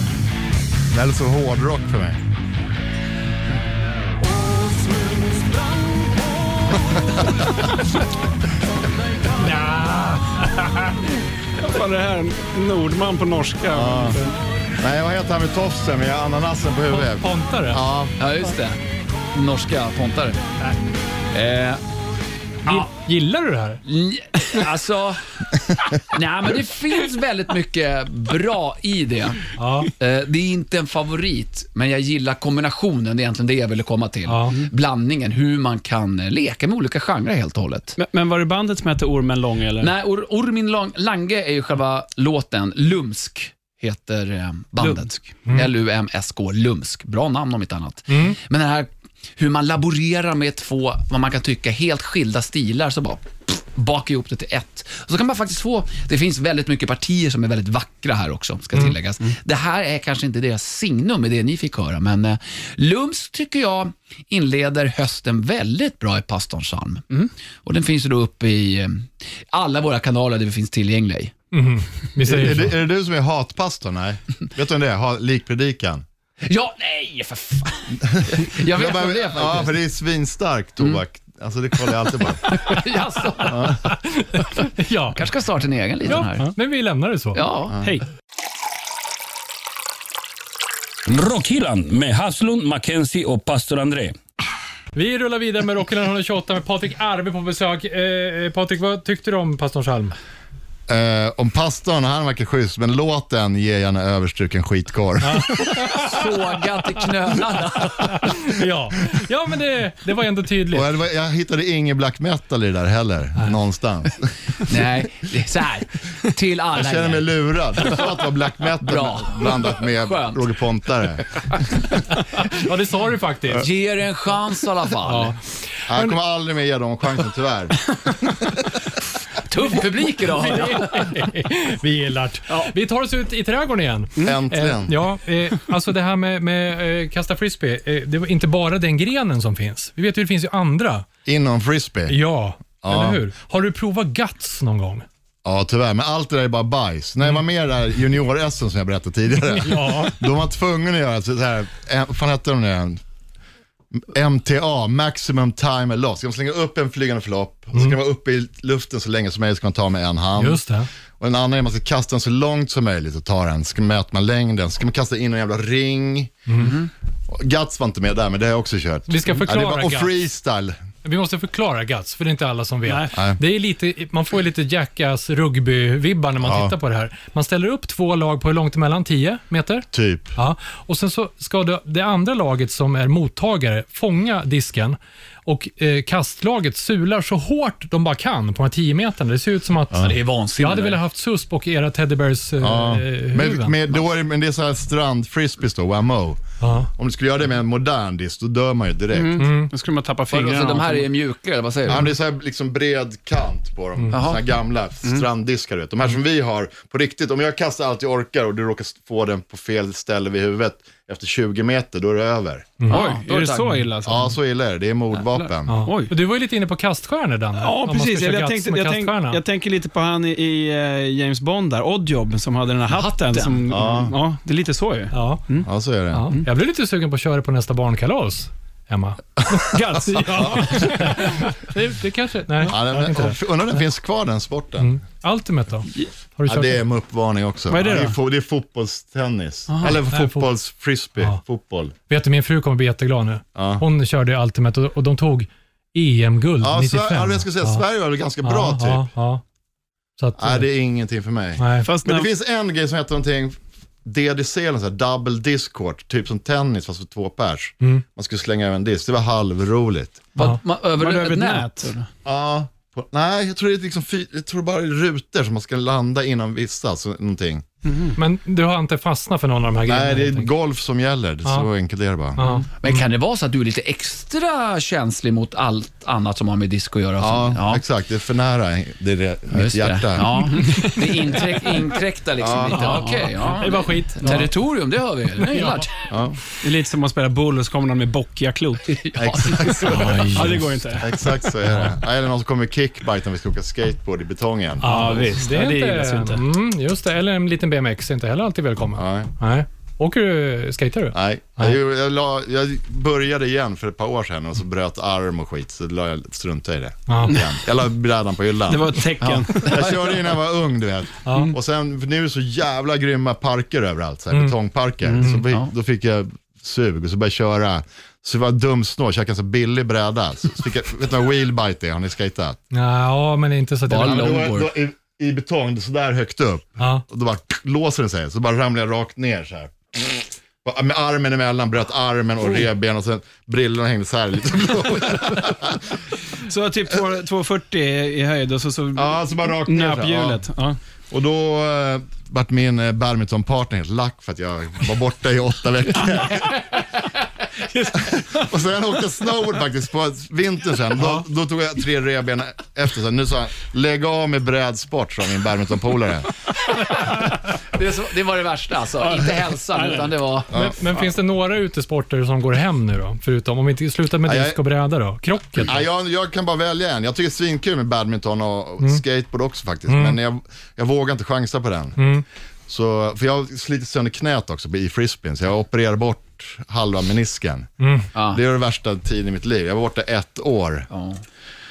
S5: Det är lite som hårdrock för mig.
S1: Vad fan är det här? Nordman på norska.
S5: Nej, jag heter han med tofsen med ananasen på huvudet.
S2: Pontare.
S5: Ja,
S3: Ja, just det. Norska pontare. Eh,
S2: Gill- Gillar du det här?
S3: Nj- Alltså, nej men det finns väldigt mycket bra i det.
S2: Ja.
S3: Eh, Det är inte en favorit, men jag gillar kombinationen, det är egentligen det jag ville komma till.
S2: Ja.
S3: Blandningen, hur man kan eh, leka med olika genrer helt och hållet.
S1: Men, men var det bandet som hette Ormen Lång eller?
S3: Nej, Or- Ormin Lang- Lange är ju själva låten, Lumsk heter eh, bandet.
S1: Lumsk. Mm.
S3: L-U-M-S-K, Lumsk. Bra namn om inte annat. Men det här hur man laborerar med två, vad man kan tycka, helt skilda stilar, så bara pff, baka ihop det till ett. Och så kan man faktiskt få, det finns väldigt mycket partier som är väldigt vackra här också, ska
S5: Mm.
S3: tilläggas. Det här är kanske inte deras signum i det ni fick höra, men eh, Lumsk tycker jag inleder hösten väldigt bra i Pastorns psalm.
S5: Mm.
S3: Och den finns ju då uppe i eh, alla våra kanaler där vi finns tillgängliga i.
S2: Vi säger
S5: är, det,
S2: så.
S5: är det du som är hatpastor? Nej. Vet du vem det är? Ha, likpredikan.
S3: Ja, nej för fan. [LAUGHS] Jag vet
S5: bara-
S3: om det är
S5: Ja,
S3: faktiskt.
S5: för det är svinstark tobak. Alltså det kollar jag alltid på.
S3: [LAUGHS] Jaså?
S2: Ja.
S3: kanske ska starta en egen liten här.
S2: ja, men vi lämnar det så.
S3: Ja.
S1: Hej.
S4: Rockhyllan med Haslund, Mackenzie och pastor André.
S2: Vi rullar vidare med Rockyland 128 med Patrik Arve på besök. Eh, Eh, Patrik, vad tyckte du om Pastorns
S5: [LAUGHS]
S2: Alm?
S5: Eh, om pastorn, han verkar schysst, men låten ger gärna överstruken skitkorv.
S3: Sågat i knölarna.
S2: Ja, ja men det, det var ändå tydligt.
S5: Och jag, jag hittade ingen black metal i det där heller, någonstans.
S3: [LAUGHS] Nej, det är så här. Till alla
S5: Jag känner mig
S3: igen.
S5: lurad. Jag sa att det var black metal
S3: Bra.
S5: blandat med
S3: Skönt.
S5: Roger Pontare.
S2: Ja, det sa du
S5: [LAUGHS]
S2: faktiskt.
S3: Ge er en chans i alla fall.
S2: Ja.
S5: Jag kommer aldrig mer ge dem chansen tyvärr.
S3: Tuff publik idag.
S2: Vi gillar det. Vi tar oss ut i trädgården igen. Eh,
S5: Äntligen.
S2: ja, eh, alltså det här med, med eh, kasta frisbee, eh, det var inte bara den grenen som finns. Vi vet ju det finns ju andra.
S5: Inom frisbee.
S2: Ja,
S5: Ja.
S2: eller hur? Har du provat Guts någon gång?
S5: Ja, tyvärr. Men allt det där är bara bajs. När jag var med i det här junior-SM som jag berättade tidigare,
S2: [LAUGHS] Ja.
S5: då var man tvungen att göra så här, eh, vad fan hette de nu igen? MTA, maximum time loss. Ska man slänga upp en flygande förlopp, och så ska man vara uppe i luften så länge som möjligt, ska man ta med en hand.
S2: Mm. Just det.
S5: Och en annan är att man ska kasta den så långt som möjligt och ta den. Ska mäter man längden, ska man kasta in en jävla ring. Och Guts var inte med där, men det har jag också kört.
S2: Mm. Vi ska förklara
S5: det var, Och
S2: Guts.
S5: freestyle.
S2: Vi måste förklara Guts, för det är inte alla som vet.
S5: Nej.
S2: Det är lite, man får ju lite Jackass rugby-vibbar när man
S5: Ja.
S2: tittar på det här. Man ställer upp två lag på hur långt emellan? 10 meter?
S5: Typ.
S2: Ja, och sen så ska det, det andra laget som är mottagare fånga disken och eh, kastlaget sular så hårt de bara kan på de här 10 meterna. Det ser ut som att...
S3: Det är
S2: Jag
S3: vansinnigt.
S2: hade velat haft susp och era teddybears eh,
S5: Ja.
S2: eh,
S5: Men,
S2: huvuden.
S5: men, då är, det- men det är så här strand-frisbees då, WMO.
S2: Ja.
S5: Om du skulle göra det med en modern disk, då dör man ju direkt.
S2: Mm.
S5: Mm.
S1: Nu skulle man tappa fingrarna.
S3: Så Alltså, de här är mjuka, eller vad säger
S5: Ja,
S3: du?
S5: men det är så här liksom bred kant på
S2: Mm.
S5: dem, såna här gamla stranddiskar. du Vet. De här som vi har på riktigt, om jag kastar allt jag orkar och du råkar få den på fel ställe vid huvudet efter 20 meter, då är det över.
S2: Mm.
S3: Ja,
S1: Oj,
S3: då
S1: Mm. är det
S3: tack.
S1: så illa? Alltså?
S5: Ja, så illa är det. Det är mordvapen.
S2: Ja.
S1: Oj.
S2: Och Du var ju lite inne på kaststjärnor, Danne.
S1: Ja,
S2: Om man ska
S1: precis.
S2: köra
S1: Jag,
S2: Guts
S1: tänkte,
S2: med
S1: jag, tänk,
S2: kaststjärna.
S1: jag tänker lite på han i, i eh, James Bond där, Oddjob, som hade den här hatten.
S3: Hatten.
S1: Som, ja. det är lite så ju.
S2: Ja.
S5: Ja, så är det.
S2: Ja. Jag blev lite sugen på att köra på nästa barnkalas,
S5: [LAUGHS]
S2: Emma. Guts. ja. [LAUGHS] det, det kanske... Nej,
S5: Ja,
S2: jag vet
S5: den,
S2: inte Mm. det.
S5: undrar om den finns kvar den sporten?
S2: Ultimate då? Har du
S5: Ja,
S2: kört
S5: det
S2: det?
S5: är med uppvarning också.
S1: Vad är det
S5: Ja,
S1: då?
S5: fo- det är fotbollstennis. Eller
S2: det är fot-
S5: fotbollsfrisbee.
S2: Ja.
S5: Fotboll.
S2: Vet du, min fru kommer bli jätteglad nu.
S5: Ja.
S2: Hon körde Ultimate och, och de tog EM-guld
S5: Ja,
S2: 95.
S5: Sverige, ja, jag ska säga, Sverige var väl ganska bra
S2: ja,
S5: typ.
S2: Ja, ja. Så att, eh,
S5: Nej, det är ingenting för mig.
S2: nej.
S1: Fast
S5: Men
S1: när,
S5: det finns en grej som heter någonting DDC, eller så här, double discord, typ som tennis fast för två pers. Man skulle slänga över en disk, det var halvroligt.
S2: Ja.
S3: Man, över,
S1: Var det
S3: ett
S1: över ett
S3: nät?
S1: nät?
S3: eller?
S5: Ja. På, nej, jag tror det är liksom fy, jag tror bara det är rutor som man ska landa inom vissa, så, någonting.
S2: Men du har inte fastnat för någon av de här grejerna?
S5: Nej, det är
S2: helt enkelt.
S5: golf som gäller, det är så enkelt är det bara.
S2: Ja.
S3: Men kan det vara så att du är lite extra känslig mot allt annat som har med disco att göra? och
S5: Ja,
S3: sånt? ja.
S5: exakt. Det är för nära det är det, mitt
S3: Just
S5: hjärta.
S3: Det, ja. det är inkräkt, inkräktar liksom lite. Ja, okej, ja.
S2: Det är bara skit. Ja.
S3: Territorium, det hör vi. Det är klart.
S1: det är lite som att spela boll och så kommer någon med bockiga klot.
S5: [LAUGHS] Exakt, så,
S1: Ja, det går inte.
S5: exakt så är det. Nej, Eller någon som kommer med kickbike när vi ska åka skateboard i betongen.
S1: Ja, visst.
S2: Det,
S1: Ja,
S2: är
S1: det
S2: inte,
S1: gillas ju inte.
S2: Mm, just det, eller en liten BMX är inte heller alltid välkommen.
S5: Nej.
S2: Nej. Åker du, skater du?
S5: Nej, jag, gjorde- jag, la, jag började igen för ett par år sedan och så bröt arm och skit, så la jag, struntade i det.
S2: Ja.
S5: Igen. Jag la brädan på hyllan.
S1: Det var ett tecken.
S5: Jag körde ju när jag var ung, du vet. Och sen, för nu är det så jävla grymma parker överallt, så här, betongparker. Så vi, Då fick jag sug och så började jag köra. Så jag var dumsnål, käkade en så billig bräda. Så så fick jag, vet du vad wheelbite är? Har ni skejtat?
S2: Ja, men det är inte så att
S3: Bara
S2: jag...
S5: Ja, men då-
S3: longboard.
S5: då- I, I betong, så där högt upp.
S2: Ja.
S5: Och då bara låser den sig, så bara ramlar jag rakt ner så här. Bara Med armen emellan, bröt armen och revben och sen brillorna hängde så här lite.
S1: Så typ 2 2,40 i höjd och så, så
S5: Ja, så bara rakt ner. så
S1: nöp
S5: här. Ja.
S1: hjulet. Ja.
S5: Och då eh, vart min eh, badmintonpartner helt lack för att jag var borta i åtta veckor. och sen åkte jag snowboard faktiskt på vintern sen. Då, då tog jag tre revben efter. Så här, nu sa han, lägg av med brädsport, sa min badmintonpolare.
S3: Det, är så, det var det värsta alltså. Inte hälsan, utan det var...
S2: Men, men finns det några utesporter som går hem nu då? Förutom om vi inte slutar med
S5: Ja, jag-
S2: disk och bräda då? Krocket?
S5: Ja, jag, jag kan bara välja en. Jag tycker det är svinkul med badminton och och skateboard också faktiskt. Men jag, jag vågar inte chansa på den. Så, för jag har slitit sönder knät också i frisbeen, så jag opererar bort halva menisken.
S3: Ja.
S5: Det är det värsta tiden i mitt liv. Jag var borta ett år.
S3: Ja.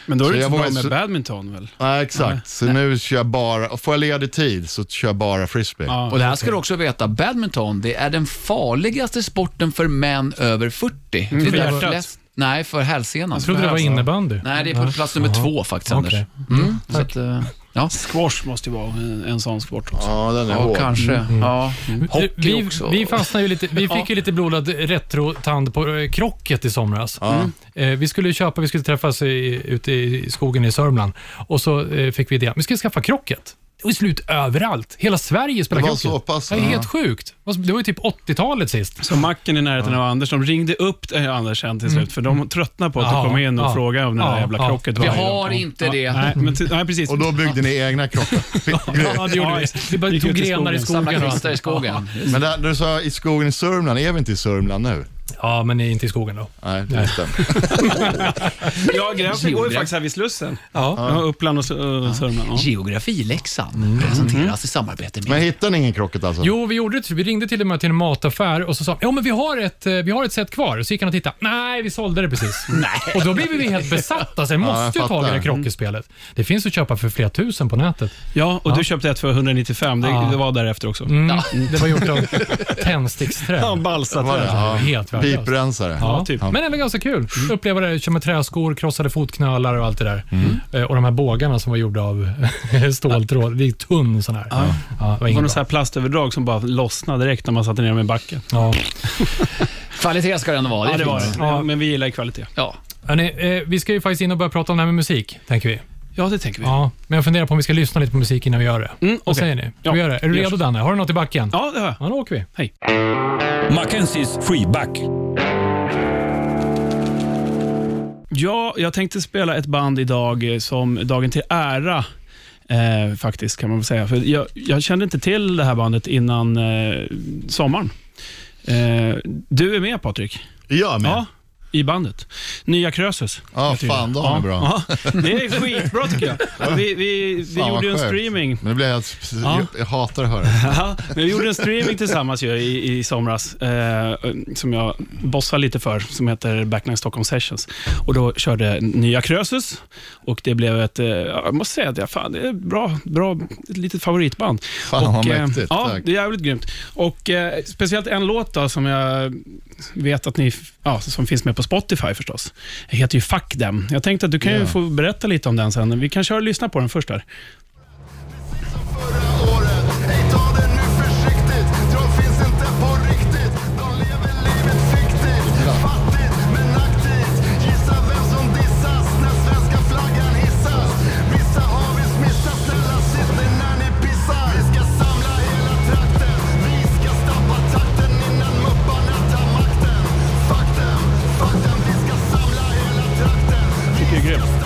S1: Men då är
S5: Så
S1: det
S5: jag
S1: inte så
S5: var
S1: bra
S5: ju
S1: med
S5: så-
S1: badminton väl?
S5: Nej, exakt. Så nu kör jag bara, och får jag ledig tid så kör jag bara frisbee.
S1: Ja.
S3: Och det här ska du också veta, badminton, det är den farligaste sporten för män över 40. det är
S1: för
S3: därför
S1: hjärtat.
S3: flest- Nej, för hälsenan.
S2: Mm. Jag trodde det var innebandy.
S3: Nej, det är på plats nummer två faktiskt, Anders.
S2: Okej.
S3: Mm, så att, eh, ja.
S1: Squash måste ju vara en, en sån sport också.
S5: Ja, den är
S3: ja,
S5: hård.
S3: kanske. Ja. Hockey
S2: Mm. vi,
S3: också.
S2: vi fastnade ju lite,
S5: [LAUGHS]
S2: vi fick ju lite blodad retrotand på eh, krocket i somras.
S5: Mm.
S2: Eh, vi skulle ju köpa, vi skulle träffas i, ute i skogen i Sörmland och så eh, fick vi idén, vi ska skaffa krocket. Och i slut överallt. Hela Sverige spelar
S5: Det var
S2: krocket.
S5: så pass,
S2: det är helt
S5: ja.
S2: sjukt. Det var ju typ 80-talet sist.
S1: Så macken i närheten av Anders, de ringde upp eh, Anders sen till slut, för de tröttnade på att
S2: Ja,
S1: du kom in och
S2: ja,
S1: frågade om det där
S2: ja,
S1: jävla
S2: ja.
S1: krocket.
S3: Vi
S1: varje gång.
S3: har inte
S1: Ja,
S3: det.
S1: Nej, men, ty- nej precis.
S5: Och då byggde ni egna kroppar.
S2: Ja, det gjorde vi. Vi bara
S1: Gick
S2: tog
S1: ut i
S2: grenar i
S1: skogen.
S2: skogen.
S3: Samla
S2: och-
S3: kvistar i skogen.
S5: Men där, du sa i skogen i Sörmland, är vi inte i Sörmland nu?
S2: Ja, men ni är inte i skogen då.
S5: Nej, det stämmer.
S1: Ja, gräset går ju
S3: Geogräv.
S1: faktiskt här vid Slussen.
S2: Ja.
S1: Ja, Uppland och S- och Sörmland. Ja.
S3: Geografiläxan presenteras i samarbete med...
S5: Men hittar ni ingen krocket alltså?
S2: Jo, vi gjorde det. Vi ringde till och med till en mataffär och så sa ja men vi har ett, eh, vi har ett set kvar. Så gick han och tittade. Nej, vi sålde det precis. Nej. Och då blev vi helt besatta. Sen
S5: Ja, jag
S2: måste ju ta det
S5: fattar.
S2: här krockespelet. Det finns att köpa för flera tusen på nätet.
S1: Ja, och du köpte ett för 195. Det, det var därefter också.
S2: Mm, Det var gjort av tändsticksträ.
S1: Ja,
S5: Vad var
S1: balsaträ.
S5: det? Ja.
S2: Helt värdelöst.
S5: Piprensare.
S2: Ja,
S1: typ.
S2: Men ändå ganska kul. Uppleva det, köra med träskor, krossade fotknölar och allt det där. Eh, Och de här bågarna som var gjorda av [LAUGHS] ståltråd. Det är tunn sån här. Ja. det var
S1: Det var något
S2: inget bra.
S1: så här plastöverdrag som bara lossnade direkt när man satte ner dem i backen.
S2: Ja.
S3: Kvalitet ska det ändå vara.
S1: Ja, det var
S3: fint.
S1: det. Ja, men vi gillar ju kvalitet.
S3: Ja.
S2: Hörrni, eh, vi ska ju faktiskt in och börja prata om det här med musik, tänker vi.
S1: Ja, det tänker vi.
S2: Ja, men jag funderar på om vi ska lyssna lite på musik innan vi gör det.
S1: Mm,
S2: Vad
S1: okej.
S2: säger ni? Ska
S1: Ja,
S2: vi göra det? Är du
S1: vi gör
S2: redo
S1: så.
S2: Danne? Har du något i backen?
S1: Ja, det har jag.
S2: Ja, då åker vi.
S1: Hej.
S4: Mackenzies freeback.
S1: Ja, jag tänkte spela ett band idag eh, som dagen till ära eh, faktiskt kan man väl säga. För jag, jag kände inte till det här bandet innan eh, sommaren. Eh, du är med Patrik?
S5: Jag med.
S1: Ja, i bandet. Nya Krösus.
S5: Ja,
S1: heter det.
S5: fan, de är bra.
S1: ja. det är skitbra tycker jag. Vi, vi, vi
S5: Fan, vad
S1: gjorde ju en
S5: skönt.
S1: streaming.
S5: Men det blev helt,
S1: Ja.
S5: jag, jag hatar att höra det.
S1: Ja, men vi gjorde en streaming tillsammans ju i, i somras, eh, som jag bossar lite för, som heter Backline Stockholm Sessions. Och Då körde Nya Krösus och det blev ett, eh, jag måste säga att jag, fan, det är bra, bra, ett litet favoritband.
S5: Fan,
S1: och,
S5: vad
S1: eh,
S5: mäktigt.
S1: Ja,
S5: Tack.
S1: det är jävligt grymt. Och eh, speciellt en låt då, som jag vet att ni, f- ja, som finns med på på Spotify förstås. Det heter ju Fuck Them. Jag tänkte att du kan ju få berätta lite om den sen. Vi kan köra och lyssna på den först där.
S6: förra året. Ej, ta det nu försiktigt. De finns inte på riktigt. De lever livet fiktigt. Fattigt men aktivt. Gissa vem som dissas när svenska flaggan hissas. Vissa har visst missat. Snälla sitt ner när ni pissar. Vi ska samla hela trakten. Vi ska stoppa takten innan mupparna tar makten. Fuck dem, fuck dem. Vi ska samla hela trakten. Vi
S1: Det är grymt.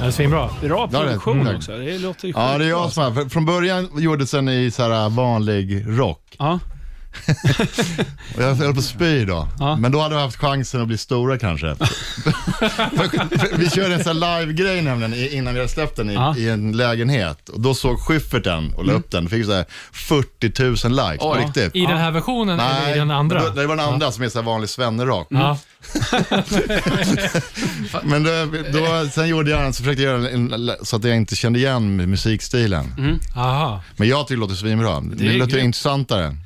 S2: Det är svinbra.
S1: Bra
S5: Ja, det-
S1: produktion
S5: mm.
S1: också. Det låter ju
S5: Ja, det är
S1: skitbra.
S5: jag som är. för Från början gjordes den i så här äh, vanlig rock.
S1: Ja.
S5: Och [LAUGHS] jag höll på att spy då.
S1: Ja.
S5: Men då hade vi haft chansen att bli
S1: [LAUGHS]
S5: stora kanske. För- för vi körde en sån här live-grej nämligen i- innan vi hade släppt den i,
S1: Ja.
S5: i en lägenhet. Och då såg Schyfferten och la upp den. Fick så här 40 000 likes på
S3: Oj.
S5: riktigt.
S2: I den här versionen eller i den andra?
S5: men Då, det var den andra som är så här vanlig svennerock.
S2: Ja.
S5: Mm. Men då, då, sen gjorde jag den, så försökte jag göra en, en- så att jag inte kände igen musikstilen.
S2: Aha.
S5: Men jag tycker det låter svinbra. Det,
S1: är
S5: låter
S1: grymt.
S5: intressantare.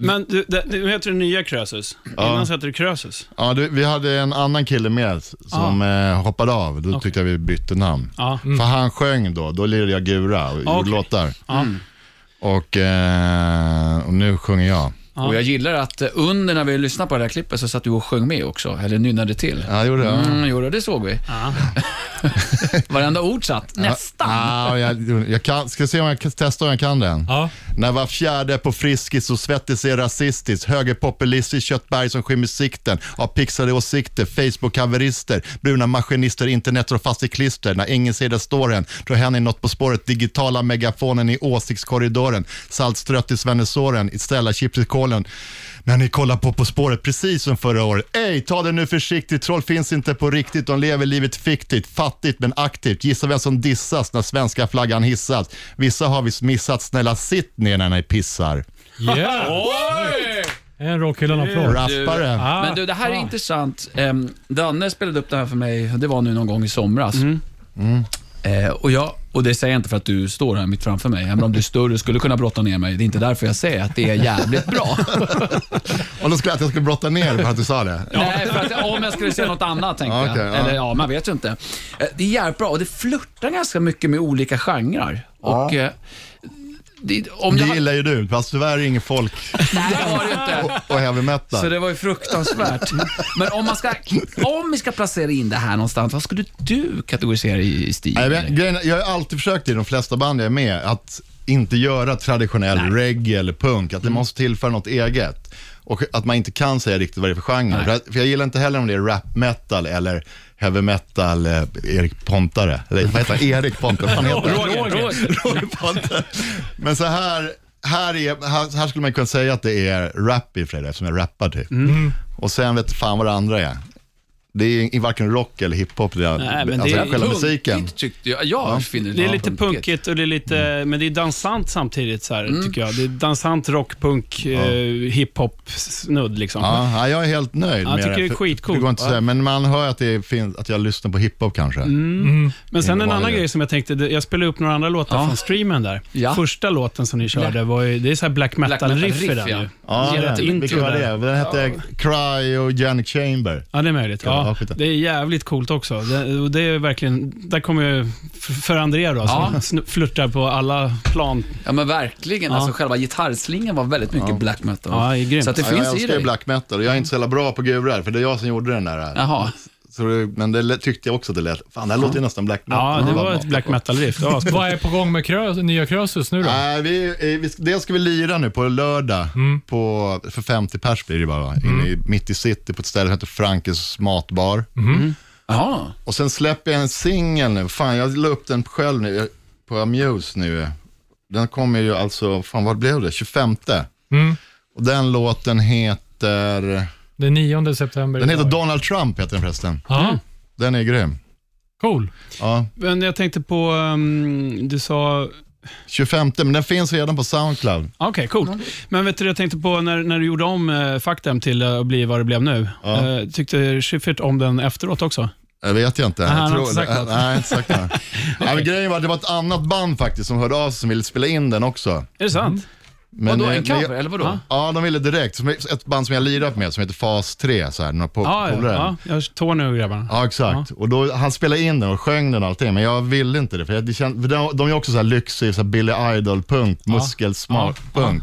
S1: Men du, det, nu heter det nya Krösus. Innan så hette det Krösus.
S5: Ja, du, vi hade en annan kille med som eh, hoppade av. Då tyckte jag vi bytte namn.
S1: Ja.
S5: För han sjöng då, då lirade jag gura och gjorde
S1: okej.
S5: låtar.
S1: Ja.
S5: Och, eh, och nu sjunger jag.
S3: Och jag gillar att eh, under när vi lyssnade på det här klippet så satt du och sjöng med också, eller nynnade till.
S5: Ja, det gjorde jag.
S3: Mm, jo, det såg vi. [LAUGHS] Varenda ord satt. Nästan.
S5: Ja, jag, jag kan, ska se om jag kan testa om jag kan den.
S2: Ja.
S5: När var fjärde är på Friskis och Svettis är rasistiskt. Högerpopulistiskt köttberg som skymmer sikten. Av pixade åsikter, Facebook-haverister, bruna maskinister, internet och fast i klister. När ingen ser det står en, då händer något på spåret. Digitala megafonen i åsiktskorridoren. Saltstrött i svennesåren, i Stella-chips i kolen. När ni kollar på På spåret, precis som förra året. Ej, ta det nu försiktigt. Troll finns inte på riktigt. De lever livet fiktigt. Fattigt men aktivt. Gissa vem som dissas när svenska flaggan hissas. Vissa har visst missat. Snälla sitt ner när ni pissar.
S2: Yeah. En rockhyllan-applåd.
S5: Rappare.
S2: Ah.
S3: Men Mm. du, det här är intressant. Ehm, Danne spelade upp det här för mig, det var nu någon gång i somras.
S2: Mm.
S5: Mm.
S3: Eh, och, jag, och det säger jag inte för att du står här mitt framför mig, även om du är större skulle kunna brotta ner mig. Det är inte därför jag säger att det är
S2: [LAUGHS]
S3: jävligt bra.
S5: Och då skulle jag att jag skulle brotta ner för att du sa det.
S3: Nej, för att, om jag skulle säga något annat tänkte
S5: Ja, okej,
S3: jag.
S5: ja.
S3: Eller ja, man vet ju inte. Eh, Det är jävligt bra och det flörtar ganska mycket med olika genrer. Och, eh, det, om
S5: Det
S3: jag,
S5: gillar ju du, fast tyvärr är ingen folk
S3: nej, det har det inte.
S5: [LAUGHS] och, och heavy
S3: Så
S5: metal.
S3: det var ju
S5: [LAUGHS]
S3: fruktansvärt. Men om, man ska, om vi ska placera in det här någonstans, vad skulle du kategorisera i, i stil?
S5: Nej, men grejen är- Jag har alltid försökt i de flesta band jag är med att inte göra traditionell reggae eller punk,
S1: Mm.
S5: att det måste tillföra något eget. Och att man inte kan säga riktigt vad det är för genre. För, att- för jag gillar inte heller om det är rap metal eller heavy metal, eh, Erik Pontare. Eller
S1: [LAUGHS]
S5: vad heter han? Erik Pontare, vad fan heter han? Roger Pontare. Men så här, här, är, här, här skulle man kunna säga att det är rap i fredag, eftersom jag rappar typ.
S1: Mm.
S5: Och sen vet fan vad det andra är. Det är i varken rock eller hiphop, det är,
S1: Nej, men det
S5: alltså
S1: är
S5: själva
S3: Punkigt,
S5: musiken.
S3: tyckte jag. Jag finner
S1: Det är lite punkigt och det är lite, men det är dansant samtidigt, så här, tycker jag. Det är dansant rock, punk, eh, hiphop-snudd liksom.
S5: Ja, ja, jag är helt nöjd
S1: jag
S5: med
S1: tycker det är
S5: För-
S1: skitcoolt.
S5: Det går inte att säga, men man hör att, det finns, att jag lyssnar på hiphop kanske.
S1: Mm, Men sen
S5: Ingen
S1: en annan
S5: vanlig.
S1: grej som jag tänkte, det- jag spelade upp några andra låtar
S3: Ja.
S1: från streamen där.
S3: Ja.
S1: Första låten som ni körde var ju, det är så här black metal-riff i
S3: metal-riff,
S1: den
S3: ja.
S1: ju.
S5: Ja,
S1: Ger ett
S5: det-
S1: intro
S5: vilken var
S1: där.
S5: det? Den hette Cry och Janik Chamber.
S1: Ja, det är möjligt.
S5: Ja,
S1: Ja,
S5: skit i det.
S1: det är jävligt coolt också. Det, och det är verkligen, där kommer ju f- för Andrea då, som
S3: Ja.
S1: snu- flörtar på alla plan.
S3: Ja, men verkligen. Alltså, själva gitarrslingan var väldigt mycket black metal.
S1: Ja, det är grymt.
S3: Så att det
S5: Ja, jag
S3: finns i
S5: älskar ju
S3: dig.
S5: black metal och jag är inte så jävla bra på gurar, för det är jag som gjorde den där.
S3: Jaha.
S5: Så det, men det lät- tyckte jag också att det lät, fan det här låter ju nästan black metal.
S1: Ja, det
S5: Fan,
S1: var
S5: vad
S1: ett
S5: bra.
S1: black metal-riff. Det var ascoolt.
S2: Vad är på gång med krö, nya Krösus nu då?
S5: Nej, vi, eh, vi, dels ska vi lira nu på lördag,
S1: Mm.
S5: på, för 50 pers blir det bara, va? inne i, mitt i city på ett ställe som heter Frankes matbar.
S3: Jaha.
S5: Och sen släpper jag en singel nu, fan jag la upp den själv nu, eh, på Amuse nu. eh. Den kommer ju alltså, fan vad blev det, 25?
S2: Mm.
S5: Och den låten heter,
S2: Den 9 september.
S5: den heter
S2: idag.
S5: Donald Trump heter den förresten.
S2: Ja,
S5: Den är grym.
S2: cool.
S5: Ja,
S1: Men jag tänkte på, ehm, du sa
S5: 25, men den finns redan på Soundcloud.
S1: Okej, coolt. Men vet du, jag tänkte på när, när du gjorde om eh, faktum till eh, att bli vad det blev nu.
S5: Ja.
S1: Eh, tyckte Schyffert om den efteråt också?
S5: Jag vet jag inte.
S1: han har
S5: jag
S1: inte sagt något.
S5: Nej, jag har inte
S1: [LAUGHS]
S5: sagt något. Nej, men grejen var att det var ett annat band faktiskt som hörde av sig som ville spela in den också.
S1: Är det sant?
S5: Men,
S3: vadå,
S5: eh,
S3: en cover?
S5: men jag-
S3: eller vadå?
S5: Ja, de ville direkt. Som Ett band som jag lirat med som heter Fas 3, så här, några po-
S1: Ja, ja,
S5: polare.
S1: ja. Jag tår nu grabbarna.
S5: Ja, exakt. Och då, han spelade in den och sjöng den och allting, men jag ville inte det. För, jag, det känd, för de, de är också så här lyxig, så här Billy Idol-punk, muskelsmart-punk.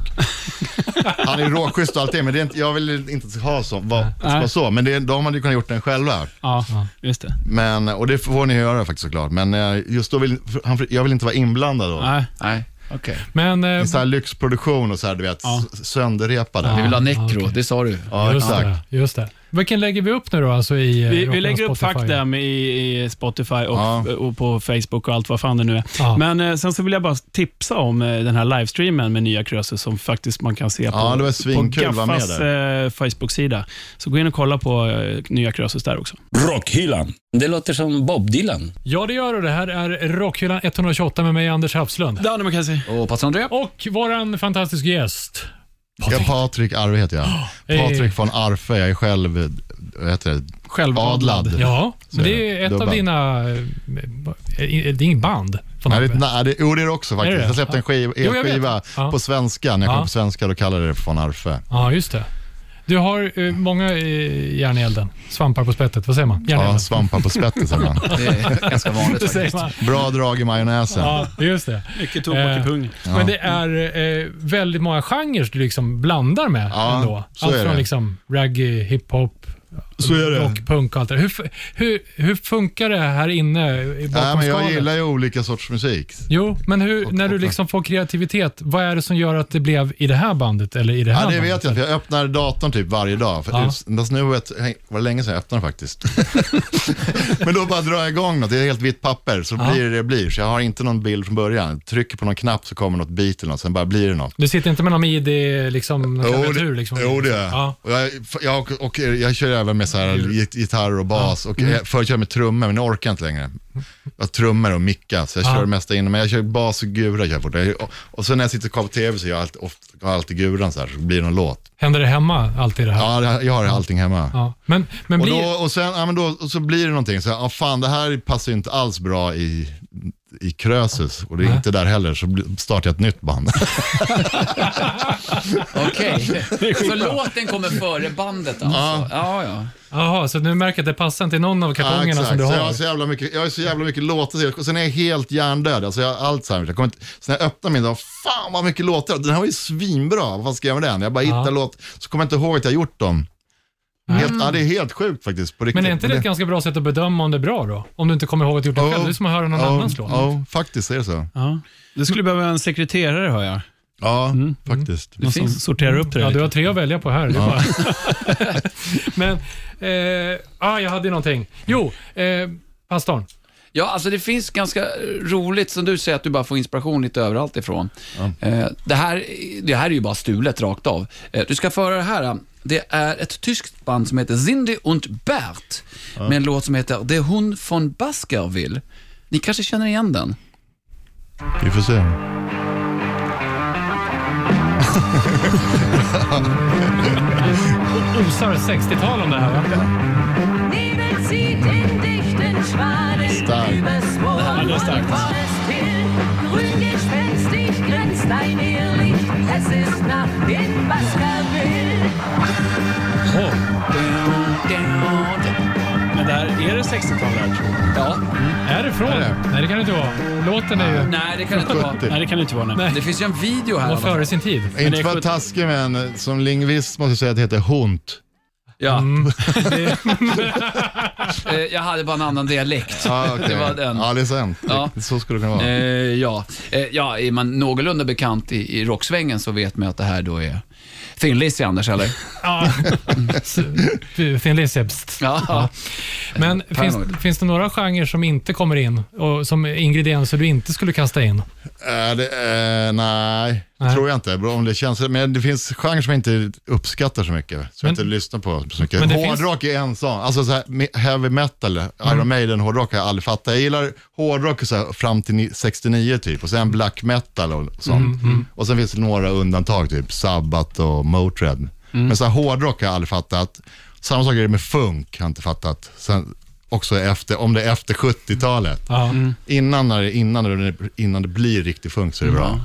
S5: [LAUGHS] Han är råschysst och allting, men det är inte, jag vill inte ha så. Va,
S1: Nej.
S5: va, så. Men det, de hade ju kunnat gjort den själva.
S1: Ja, just det.
S5: Men, och det får ni göra faktiskt såklart. Men eh, just då vill för- han, jag vill inte vara inblandad då.
S1: Nej.
S3: Nej, okej.
S2: Men, eh,
S5: Det är så här lyxproduktion och så här, du vet, s- sönderrepade.
S3: Vi
S5: Ja,
S3: vill ha necro, det sa du.
S2: just,
S5: exakt.
S2: det, just det. Vilken lägger vi upp nu då? Alltså i, eh,
S1: Vi, vi
S2: Rockarnas
S1: lägger upp
S2: Spotify?
S1: Fuck Them i, i Spotify och,
S5: Ja.
S1: och på Facebook och allt vad fan det nu är.
S2: Ja.
S1: Men eh, sen så vill jag bara tipsa om eh, den här livestreamen med nya Krösus som faktiskt man kan se
S5: Ja, det
S1: på,
S5: var
S1: på
S5: svinkul att vara med
S1: Gaffas eh, Facebook-sida. Så gå in och kolla på eh, nya Krösus där också.
S4: Rockhyllan. Det låter som Bob Dylan.
S2: Ja, det gör du. Det här är Rockhyllan 128 med mig, Anders Hafslund.
S1: Danne McKenzie.
S3: Och Pastor André?
S2: Och våran fantastiska gäst.
S5: Ja, Patrik Arve heter jag.
S2: Hej.
S5: Patrik von Arfe, jag är själv eh, vad heter det?
S1: Självadlad.
S5: Adlad.
S2: Ja, men
S5: Typ. Så
S2: det är ett av
S5: dubbar.
S2: dina... eh, eh, Det är inget band. Från
S5: Nej, det,
S2: Abbe.
S5: nej, det, jo, det är det också faktiskt.
S2: Är det?
S5: Jag släppte en skiv,
S2: Jo, jag vet.
S5: elskiva
S2: Ja.
S5: på svenska. När jag kom
S2: Ja.
S5: på svenska då kallade jag det von Arfe.
S2: Ja, just det. Du har eh, många eh, järn i elden. Svampar på spettet. Vad säger man? Järn i
S5: [LAUGHS]
S2: elden.
S5: Ja, svampar på spettet säger man.
S2: [LAUGHS]
S3: Det
S5: [LAUGHS]
S3: är ganska vanligt
S2: Det säger
S3: faktiskt.
S2: man.
S5: Bra drag i majonnäsen.
S2: Ja, just det.
S1: Mycket tobak
S2: Eh,
S1: i pung.
S2: Men det är eh, väldigt många genrer du liksom blandar med
S5: Ja,
S2: ändå.
S5: så
S2: Allt
S5: är
S2: från
S5: det.
S2: liksom reggae, hiphop,
S5: Så är det.
S2: rock, punk och allt det där. hur, f- hur, hur funkar det här inne i- bakom
S5: Nej, men jag
S2: skalet?
S5: gillar ju olika sorts musik.
S2: Jo, men hur, när du liksom får kreativitet, vad är det som gör att det blev i det här bandet eller i det här
S5: Ja, det
S2: bandet?
S5: vet jag inte. Jag öppnar datorn typ varje dag. För
S2: Ja.
S5: just- just nu var det- häng- var det länge sedan jag öppnade
S2: [LAUGHS]
S5: den faktiskt. Men då bara drar jag igång något. Det är helt vitt papper, så blir det det blir. Så jag har inte någon bild från början. Trycker på någon knapp så kommer något beat eller något, sen bara blir det något.
S2: Du sitter inte med någon ID, liksom, någon
S5: Jo,
S2: klaviatur?
S5: det,
S2: Liksom.
S5: jo, det gör jag.
S2: Ja.
S5: Och jag, jag, och, och eh, jag kör även med så här git- gitarr och bas. Och
S2: Mm.
S5: jag, förut körde jag med trummor, men nu orkar jag inte längre. Jag har trummor och mickar, så jag kör mest in. Men jag kör bas och gura. Kör jag fortfarande. och, och sen när jag sitter kvar på tv så jag har alltid, ofta, har alltid guran så här, så blir det någon låt.
S2: Händer det hemma alltid det här?
S5: Ja, det- jag har allting hemma.
S2: Ja. Men, men
S5: Och,
S2: blir...
S5: då, och, sen, ja, men då, och så blir det någonting, så ja, fan det här passar ju inte alls bra i, i Krösus och det är inte där heller, så bli- startar jag ett nytt band.
S3: Okej. Så låten kommer före bandet alltså? Ja, ja.
S2: Jaha, så nu märker jag att det passar inte i någon av
S5: Ja,
S2: kartongerna som du
S5: Så
S2: har.
S5: jag, har så jävla mycket, jag har så jävla mycket låtar, så jag- och sen är jag helt hjärndöd. Alltså jag har allt så här, jag kommer inte, så när jag öppnar min dag, fan vad mycket låtar, den här var ju svinbra, vad fan ska jag göra med den? Jag bara hittar låt, så kommer jag inte ihåg att jag gjort dem. Helt, ja, det är helt sjukt faktiskt, på riktigt.
S2: Men är inte det ett ganska bra sätt att bedöma om det är bra då? Om du inte kommer ihåg att du gjort det själv. Det är som att höra någon annans låt.
S5: Ja, faktiskt är det så.
S1: Ja. Du skulle behöva en sekreterare, hör jag.
S5: Ja,
S2: Mm.
S5: faktiskt.
S1: Någon som sorterar upp det
S2: Ja,
S1: där
S2: du
S1: lite.
S2: har tre att välja på här. Det är bara-
S5: [LAUGHS]
S2: Men, eh, ah, jag hade ju någonting. Jo, eh, pastorn.
S3: Ja, alltså det finns ganska roligt, som du säger, att du bara får inspiration lite överallt ifrån. Eh, Det, här, det här är ju bara stulet rakt av. Eh, Du ska föra det här. Det är ett tyskt band som heter Cindy und Bert med en låt som heter Det hon von Baskerville. Ni kanske känner igen den?
S5: Vi får se.
S2: Osar 60-tal om det här va?
S7: Nebel zieht in dichten Schwaden
S5: Stark.
S7: übers Moor und volles Till. Grüngespenstig grenzt ein Irrlicht, es ist Nacht in Baskerville.
S1: Men där är det 60-talare, tror jag.
S3: Ja.
S2: Är det från? Nej, det kan det inte vara. Låten är ju...
S3: Nej, det kan det inte vara.
S5: 70.
S1: Nej, det kan det inte vara. Nej.
S3: Det finns ju en video här. i
S2: Var
S3: alla fall.
S2: före sin tid.
S5: Inte
S1: det är
S5: för
S1: sjut-
S5: att taskig, men eh, som lingvist måste jag säga att det
S3: [LAUGHS]
S5: heter hont.
S3: Ja.
S2: Det-
S3: [LAUGHS] Eh, Jag hade bara en annan dialekt.
S5: Ja, Ah, okej.
S3: Det var den.
S5: Ja, det är sant.
S3: Ja.
S5: Det- Så skulle det kunna vara.
S3: Eh, ja. Eh, ja, är man någorlunda bekant i, i rocksvängen så vet man ju att det här då är Thin Lizzy, Anders, eller?
S2: Ja. S- Thin Lizzy. pst.
S3: Ja.
S2: Men finns,
S3: Paranoid.
S2: finns det några genrer som inte kommer in och som ingredienser du inte skulle kasta in?
S5: Eh, det, eh, nej,
S2: Nej.
S5: tror jag inte. Bra Om det känns, men det finns genrer som jag inte uppskattar så mycket. Som
S2: Men-
S5: jag inte lyssnar på så mycket.
S2: Men det
S5: Hårdrock är en sån. Alltså så här, me- heavy metal, Iron Maiden, hårdrock har jag aldrig fattat. Jag gillar hårdrock så här, fram till ni- 69 typ. Och sen black metal och sånt.
S2: Mm,
S5: Och sen finns det några undantag, typ Sabbath och Motörhead.
S2: Mm.
S5: Men så här, hårdrock har jag aldrig fattat. Samma sak är det med funk, har jag inte fattat. Sen, också efter, om det är efter 70-talet.
S2: Ja.
S3: Mm.
S2: Mm.
S5: Innan, när det, innan, det, innan det blir riktig funk så är det bra.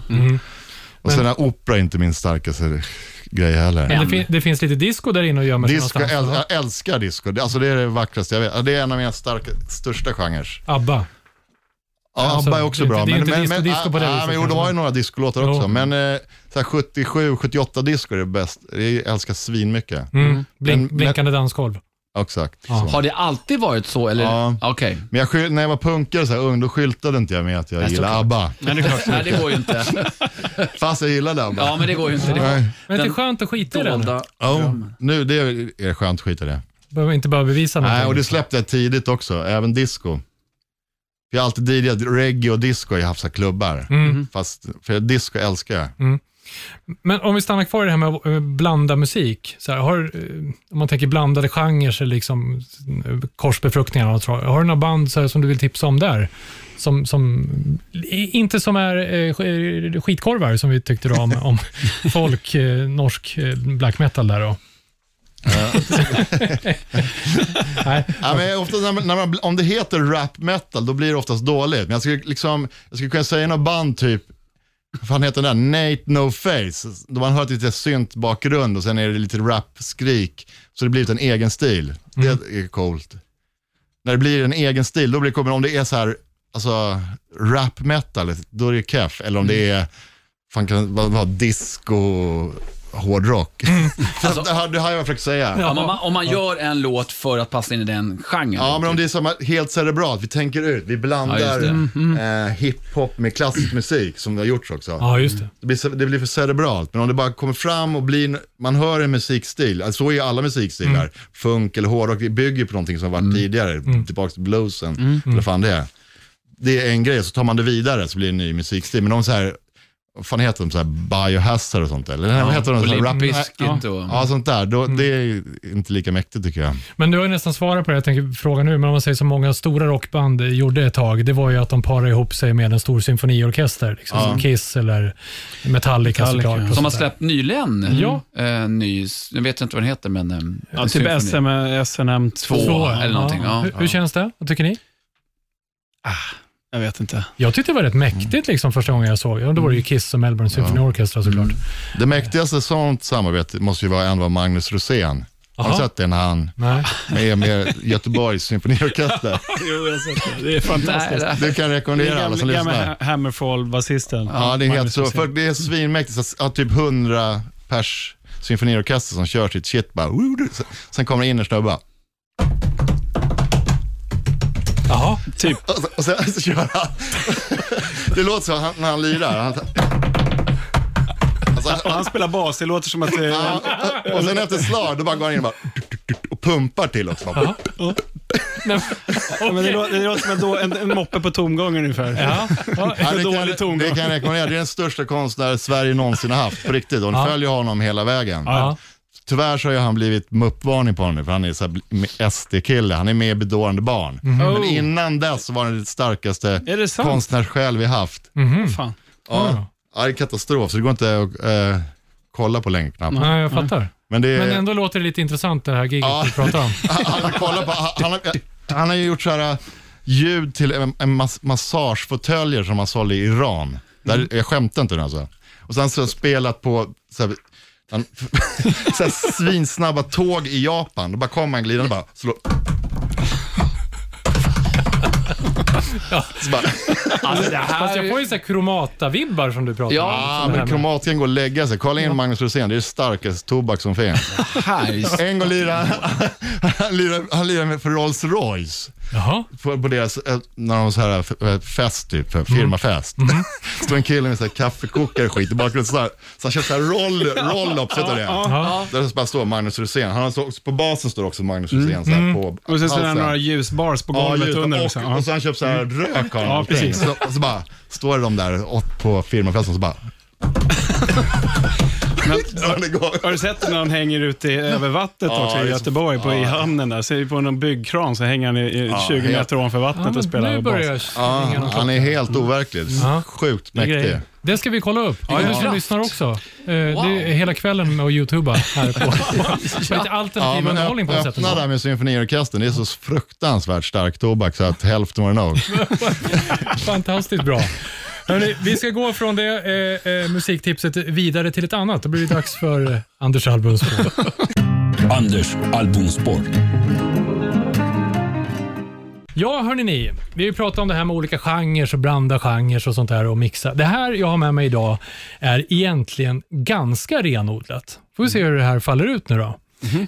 S5: Och sen är opera inte min starkaste grej heller.
S2: Men det, fin- det finns lite disco där inne och gömmer sig
S5: Disco, jag,
S2: någonstans.
S5: äl- jag älskar disco. Det- Alltså det är det vackraste jag vet. Det är en av mina starka, största genrer.
S2: ABBA.
S5: Ja,
S2: Alltså,
S5: ABBA är också
S2: det är
S5: bra.
S2: inte- det är inte
S5: men,
S2: disco-
S5: men,
S2: disco på det
S5: ah,
S2: viset
S5: men, jo, de har ju några discolåtar
S2: Jo.
S5: också. Men eh, så här 77, 78 disco är det bäst. Jag älskar svinmycket.
S2: Mm. Blink,
S5: Men- men-
S2: blinkande dansgolv.
S5: Ja, Exakt.
S2: Ja.
S5: Så.
S3: Har det alltid varit så? Eller?
S5: Ja.
S3: Okej.
S5: Men jag, skyll- när jag var punkare så här ung, då skyltade inte jag med att jag gillade ABBA.
S1: Men det är klart.
S3: Nej, det går ju inte.
S5: Fast jag gillade ABBA.
S3: Ja, men det går ju inte. Det
S5: Nej.
S2: Men det är
S3: Den
S2: skönt att skita i
S3: är
S2: det nu.
S3: dolda.
S5: Ja, nu, det är är skönt, skit i det.
S2: Behöver inte behöva bevisa någonting.
S5: Nej, och det släppte jag tidigt också, även disco. Jag har alltid DJat reggae och disco i haft så här klubbar.
S2: Mm.
S5: Fast, för disco älskar jag.
S2: Men om vi stannar kvar i det här med att eh, blanda musik. Så här, har, eh, om man tänker blandade genrer, eller liksom, eh, korsbefruktningar, och något sånt. har du några band så här, som du vill tipsa om där? Som, som, i- inte som är eh, sk- eh, skitkorvar som vi tyckte då om, [LAUGHS] om folk, eh, norsk eh, black metal där. Då. Nej.
S5: Ja, men ofta när man, när man, om det heter rap metal, då blir det oftast dåligt. Men jag skulle, liksom, jag skulle kunna säga något band, typ, vad fan heter den där, Nate No Face. Då man hör lite synt bakgrund och sen är det lite rap-skrik. Så det blir en egen stil. Det är coolt. När det blir en egen stil, då blir det coolt. Men om det är så här, alltså rap metal, då är det keff. Eller om det är, fan kan vad, vad, disco, hårdrock. Alltså, [LAUGHS] det, här, det här har jag försökt säga.
S3: Ja, men om, man, om man gör en låt för att passa in i den genren.
S5: Ja, men om det är samma, helt cerebralt, vi tänker ut, vi
S3: Ja, just
S5: blandar
S3: det. Mm-hmm.
S5: eh, hiphop med klassisk musik som det har gjorts också.
S2: Ja, just det.
S5: Det, blir, så- det blir för cerebralt, men om det bara kommer fram och blir, en- man hör en musikstil, alltså, så är ju alla musikstilar,
S3: Mm.
S5: funk eller hårdrock, det bygger ju på någonting som har varit tidigare, tillbaka till bluesen,
S3: Mm.
S5: eller vad fan det är. Det är en grej, så tar man det vidare så blir det en ny musikstil, men de så här, vad fan heter de, så här biohazard och sånt där? Eller nej, vad heter de?
S3: Och
S5: Så här
S3: Limp
S5: rap-
S3: Bizkit och... Mm.
S5: Ja, sånt där. Då, Det är ju inte lika mäktigt tycker jag.
S2: Men du har ju nästan svarat på det, jag tänker fråga nu, men om man säger som många stora rockband gjorde ett tag, det var ju att de parade ihop sig med en stor symfoniorkester. Liksom, som Kiss eller Metallica,
S1: Metallica,
S2: såklart. och
S1: ja.
S3: Som har
S2: sådär.
S3: släppt nyligen.
S2: Ja.
S3: Eh, ny, jag vet inte vad den heter, men... eh,
S1: Ja,
S3: en
S1: typ
S3: symfoni.
S1: SM, SNM 2.
S3: Så. eller någonting, ja.
S2: Hur, hur känns det? Vad tycker ni?
S1: Jag vet inte.
S2: Jag tyckte det var rätt mäktigt liksom, första gången jag såg. Ja, då var det ju Kiss och Melbourne Symfoniorkestra såklart.
S5: Det mäktigaste sånt samarbete måste ju vara en av Magnus Rosén. Har
S2: Aha.
S5: ni sett det när han
S2: Nej.
S5: är med Göteborgs symfoniorkester?
S1: [LAUGHS] [LAUGHS] Jo, jag har sett det. Det är
S3: Nej,
S1: fantastiskt.
S3: det-
S5: Det kan jag rekommendera alla som lyssnar.
S1: Hammerfall-basisten.
S5: Ja, det är helt
S1: Magnus
S5: så.
S1: Rosén.
S5: För det är svinmäktigt. Så att- att typ 100 pers symfoniorkester som kör sitt shit bara. "Woo, du." Sen kommer det in en snubbe.
S2: Jaha.
S1: Typ.
S5: Och så- Och sen så kör han. [LAUGHS] Det låter så han- när han lirar. Han, alltså,
S1: [LAUGHS] Och han spelar bas, det låter som att
S5: [LAUGHS]
S1: det är...
S5: han, och sen efter ett slag, då bara går han in och bara och pumpar till också. Bara,
S1: Ja, men det, låter, det låter som en, då- en, en moppe på tomgång ungefär.
S2: Ja. Ja.
S5: Ja, det,
S1: För
S5: kan,
S1: dålig ton.
S5: det kan jag rekommendera. Det är den största konstnär Sverige någonsin har haft, på riktigt. Och ni följer honom hela vägen.
S2: Ja.
S5: Tyvärr så har ju han blivit muppvarning på honom nu, för han är så här bl- SD-kille. Han är med i Bedårande barn. Men
S1: Oh.
S5: innan dess så var han den starkaste
S1: Är det sant? Mm.
S5: konstnärssjäl vi haft.
S1: Fan.
S5: Ja. ja, det är katastrof, så det går inte att eh, kolla på länge knappt.
S1: Mm.
S2: Nej, jag fattar.
S5: Men det är...
S2: Men ändå låter det lite intressant det här giget
S5: Eh. Ja.
S2: vi pratar om.
S5: Han- han, har kollat på, han, han, har, han har ju gjort så här äh, ljud till en, en mas, massagefåtöljer som han sålde i Iran. Där, jag skämtar inte nu alltså. Och sen så har han spelat på så här, han, [LAUGHS] så här svinsnabba tåg i Japan. Då bara kommer han glidande och bara slår. Så bara,
S3: Alltså, det här...
S2: Fast jag får ju så här kromata-vibbar som du pratar
S3: Ja,
S2: om.
S5: ah,
S2: Som det här
S5: men
S2: med-
S5: kromatiken går att lägga sig. Kolla in Magnus Rosén, det är det starkaste tobak som finns.
S3: här
S5: En gång lirade han, han, lirade, han lirade med för Rolls Royce.
S2: Jaha.
S5: på, på deras, eh, när de var så här eh, fest typ,
S1: Mm.
S5: för firmafest.
S1: Mm-hmm.
S5: Står en kille med [LAUGHS] så här kaffekokare och skit i bakgrunden, så, här, så han kör så här roll,
S1: [LAUGHS]
S5: roll-ups utav det. Där så bara står Magnus Rosén, han har så, på basen står också Magnus Rosén så här på
S1: Mm-hmm. Och sen så är det
S5: halsen.
S1: några ljusbars på
S5: Alltså. Ja,
S1: golvet
S5: ljud,
S1: under. också.
S5: och,
S1: Ja. Mm.
S5: och så han köpt så här rök har
S1: Ja,
S5: han någonting.
S1: precis.
S5: så, och så bara står de där och, på firmafesten
S1: [LAUGHS]
S5: och så bara... Men, det går.
S1: Har du sett när han hänger ute i- över vattnet
S5: Ja,
S1: också
S5: det är
S1: i
S5: så-
S1: Göteborg, på, i hamnen där? Så är det på någon byggkran så hänger han i, i 20
S5: helt-
S1: meter ovanför vattnet
S2: Ja,
S1: och
S2: men
S1: spelar
S2: nu
S1: bas.
S2: börjar jag
S5: Ja,
S2: ringa någon klocka.
S5: han är helt overklig. Sjukt
S1: är
S5: mäktig.
S1: grejer.
S2: Det ska vi kolla upp. Ja, du som lyssnar också. Eh, Det är hela kvällen med att youtuba här på. på lite alternativ
S5: men
S2: underhållning på något sätt.
S5: Öppna där med symfoniorkestern, det är
S2: [LAUGHS]
S5: så fruktansvärt stark tobak så att hälften var det nog.
S2: Fantastiskt bra. Hörrni, vi ska gå från det eh, eh, musiktipset vidare till ett annat. Då blir det dags för eh, Anders albumspår.
S4: Anders albumspår.
S2: Ja, hörni ni. Vi har ju pratat om det här med olika genrer och blanda genrer och sånt där och mixa. Det här jag har med mig idag är egentligen ganska renodlat. Får vi se hur det här faller ut nu då.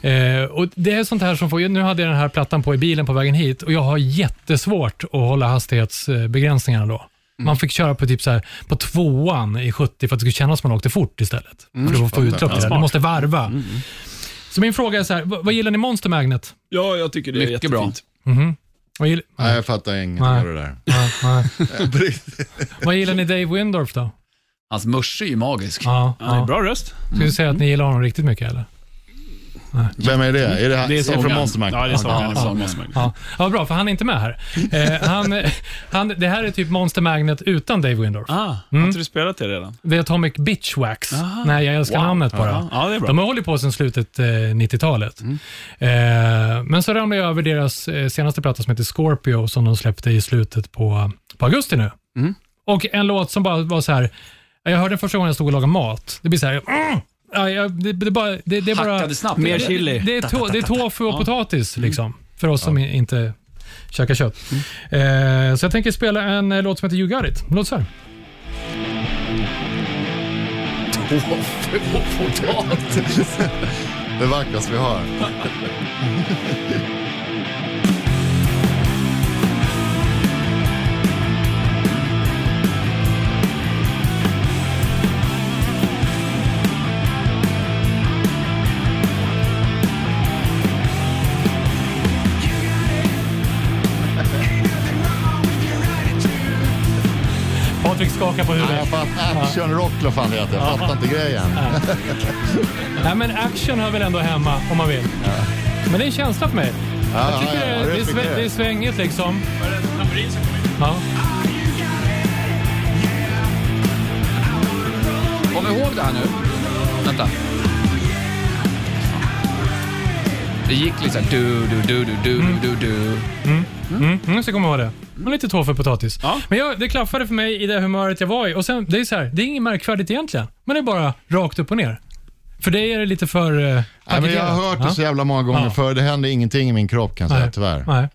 S2: Eh, och det är sånt här som får, nu hade jag den här plattan på i bilen på vägen hit och jag har jättesvårt att hålla hastighetsbegränsningarna då. Man fick köra på typ så här, på tvåan i 70 för att det skulle kännas som man åkte fort istället. för att få utlopp till det. Du måste varva. Så min fråga är så här, vad, vad gillar ni Monster Magnet?
S1: Ja, jag tycker det är
S3: Mycket bra.
S1: jättefint.
S2: Vad gill-
S5: Nej, jag fattar ingenting
S2: Nej.
S5: av det där.
S2: Nej, nej.
S5: På riktigt.
S2: [LAUGHS] Vad gillar ni Dave Windorf då?
S3: Hans Musche Alltså, är ju magisk.
S2: Ja,
S1: Ja.
S2: ja.
S1: Bra röst.
S2: Ska du säga att ni gillar honom riktigt mycket eller?
S5: Vem är det? Är det, han-
S1: Det är
S5: är från
S1: sångaren.
S5: Monsterman?
S1: Ja, det är sångaren.
S3: Ja,
S1: från
S3: sångaren.
S1: Monsterman.
S2: Ja, ja bra för han är inte med här. Eh, han, han, det här är typ Monster Magnet utan Dave Windorf.
S1: Ah,
S2: Mm.
S1: har inte du spelat det redan?
S2: The Atomic Bitchwax. Nej, jag älskar namnet bara.
S1: Ja, ja, det är bra.
S2: De har hållit på sedan slutet eh, 90-talet. Eh, men så ramlade jag över deras eh, senaste platta som heter Scorpio som de släppte i slutet på, på augusti nu. Och en låt som bara var så här, jag hörde den första gången jag stod och lagade mat. Det blir så här, mm, ja, jag, det, det, är bara, det, det är bara...
S3: Hackade snabbt.
S1: Mer
S3: Det-
S1: chili.
S2: Det, det, är to, det är tofu och potatis liksom, för oss som i- inte käkar kött. Eh, så jag tänker spela en eh, låt som heter You Got It. Låt så här.
S5: Det vackraste vi har.
S2: Patrik skakar på huvudet.
S5: Jag fattar actionrock, Äh, vad fan det heter. Jag fattar inte grejen.
S2: Nej, men action hör väl ändå hemma om man vill. Men det är en känsla för mig.
S5: Ja,
S2: Jag tycker
S5: ja, ja,
S2: det, är- det, är
S5: respekterar.
S2: svä- det är svängigt liksom. Ja.
S3: Kom ihåg det här nu. Vänta. Det gick lite såhär du, du, du, du, du, du, du.
S2: Mm, så kommer jag ihåg det. Och lite tofu potatis.
S1: Ja.
S2: Men jag, det klaffade för mig i det humöret jag var i. Och sen, det är så här, det är inget märkvärdigt egentligen. Men det är bara rakt upp och ner. För dig är det lite för eh,
S5: Nej, men jag
S2: paketerat.
S5: har hört det
S2: Ja.
S5: så jävla många gånger
S2: Ja.
S5: förr. Det händer ingenting i min kropp kan jag säga,
S2: Nej.
S5: tyvärr.
S2: Nej.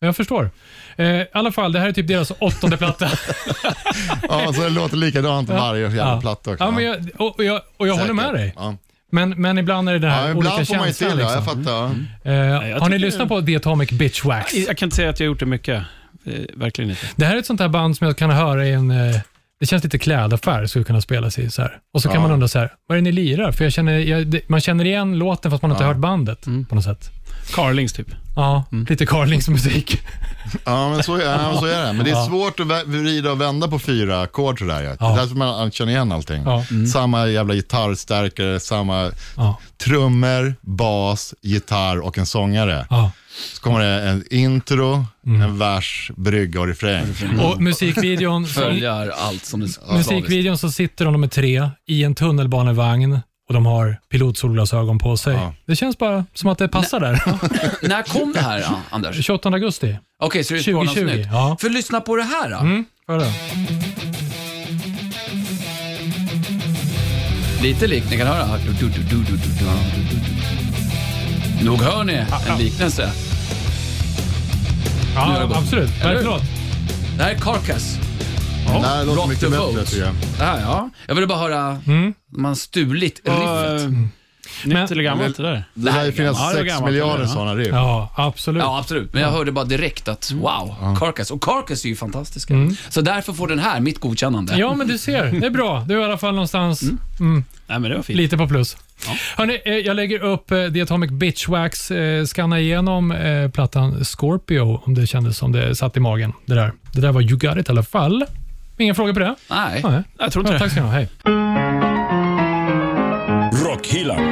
S2: Jag förstår. Eh, I alla fall, det här är typ deras åttonde
S5: [LAUGHS]
S2: platta.
S5: Ja, så det låter likadant varje jävla
S2: Ja.
S5: platta också.
S2: Ja, men jag, och, och jag, och jag håller med dig.
S5: Ja.
S2: Men, men ibland är det den här
S5: Ja,
S2: olika
S5: ibland får man ju till
S2: känslan.
S5: det,
S2: liksom.
S5: jag fattar. ja.
S2: Eh,
S1: jag
S2: har ni
S1: tycker-
S2: lyssnat på The Atomic Bitch Wax?
S1: Jag kan inte säga att jag har gjort det mycket. Eh, Verkligen inte.
S2: Det här är ett sånt här band som jag kan höra i en... eh, Det känns lite klädaffär, skulle kunna spelas i så här. Och så kan
S5: Ja.
S2: man undra så här, vad är det ni lirar? För jag känner, jag, det, man känner igen låten fast man inte har hört bandet på något sätt.
S1: Carlings typ.
S2: Ja, lite Carlings musik.
S5: Ja, men så, ja, men så är det. Men det är svårt att vä- vrida och vända på fyra ackord sådär. Ja.
S2: Ja.
S5: Det är därför man känner igen allting.
S2: Ja.
S5: Samma jävla gitarrstärkare, samma
S2: Ja,
S5: trummor, bas, gitarr och en sångare.
S2: ja.
S5: Så kommer det en intro, en vers, brygga och refräng.
S2: Och musikvideon, så,
S3: Följer allt som det ska.
S2: musikvideon så sitter de, de är tre i en tunnelbanevagn och de har pilotsolglasögon på sig.
S5: Ja.
S2: Det känns bara som att det passar där.
S3: När kom det här, ja,
S2: [LAUGHS]
S3: Anders?
S2: 28 augusti.
S3: Okej, så det är bara något
S2: 2020,
S3: nytt.
S2: ja.
S3: För lyssna på det här då.
S2: Mm, får jag det?
S3: Lite likt, ni kan höra. Du, du, du, du, du, du, du, du. Nog hör ni en liknelse. Nu har det
S2: Ja,
S3: gått.
S2: absolut.
S3: Eller
S2: Nej,
S3: hur?
S2: förlåt.
S3: Det här är Carcass.
S5: det här låter
S3: rock the
S5: mycket bättre
S3: boat.
S5: tycker jag.
S3: Det här, ja. Jag ville bara höra,
S2: Mm.
S3: man har stulit riffet.
S2: eh,
S1: Uh, nytt eller gammalt det där?
S5: Det här finns
S1: Ja, det var
S5: 6
S1: gammalt,
S5: miljarder
S1: eller? Ja.
S5: sådana riff.
S2: Ja, absolut.
S3: Ja, absolut. Men jag hörde bara direkt att wow, Carcass. Och Carcass är ju fantastiska. Så därför får den här mitt godkännande.
S2: Ja, men du ser. Det är bra. Du är i alla fall någonstans mm,
S1: Nej, men det var fint.
S2: lite på plus. Hörrni, eh, jag lägger upp eh, The Atomic Bitchwax. Eh, scanna igenom eh, plattan Scorpio om det kändes som det satt i magen. Det där, det där var You Got It i alla fall. Inga frågor på det?
S3: Nej.
S2: Nej.
S1: Jag tror inte det.
S2: Ja, tack ska ni ha. Hej.
S4: Rockhyllan.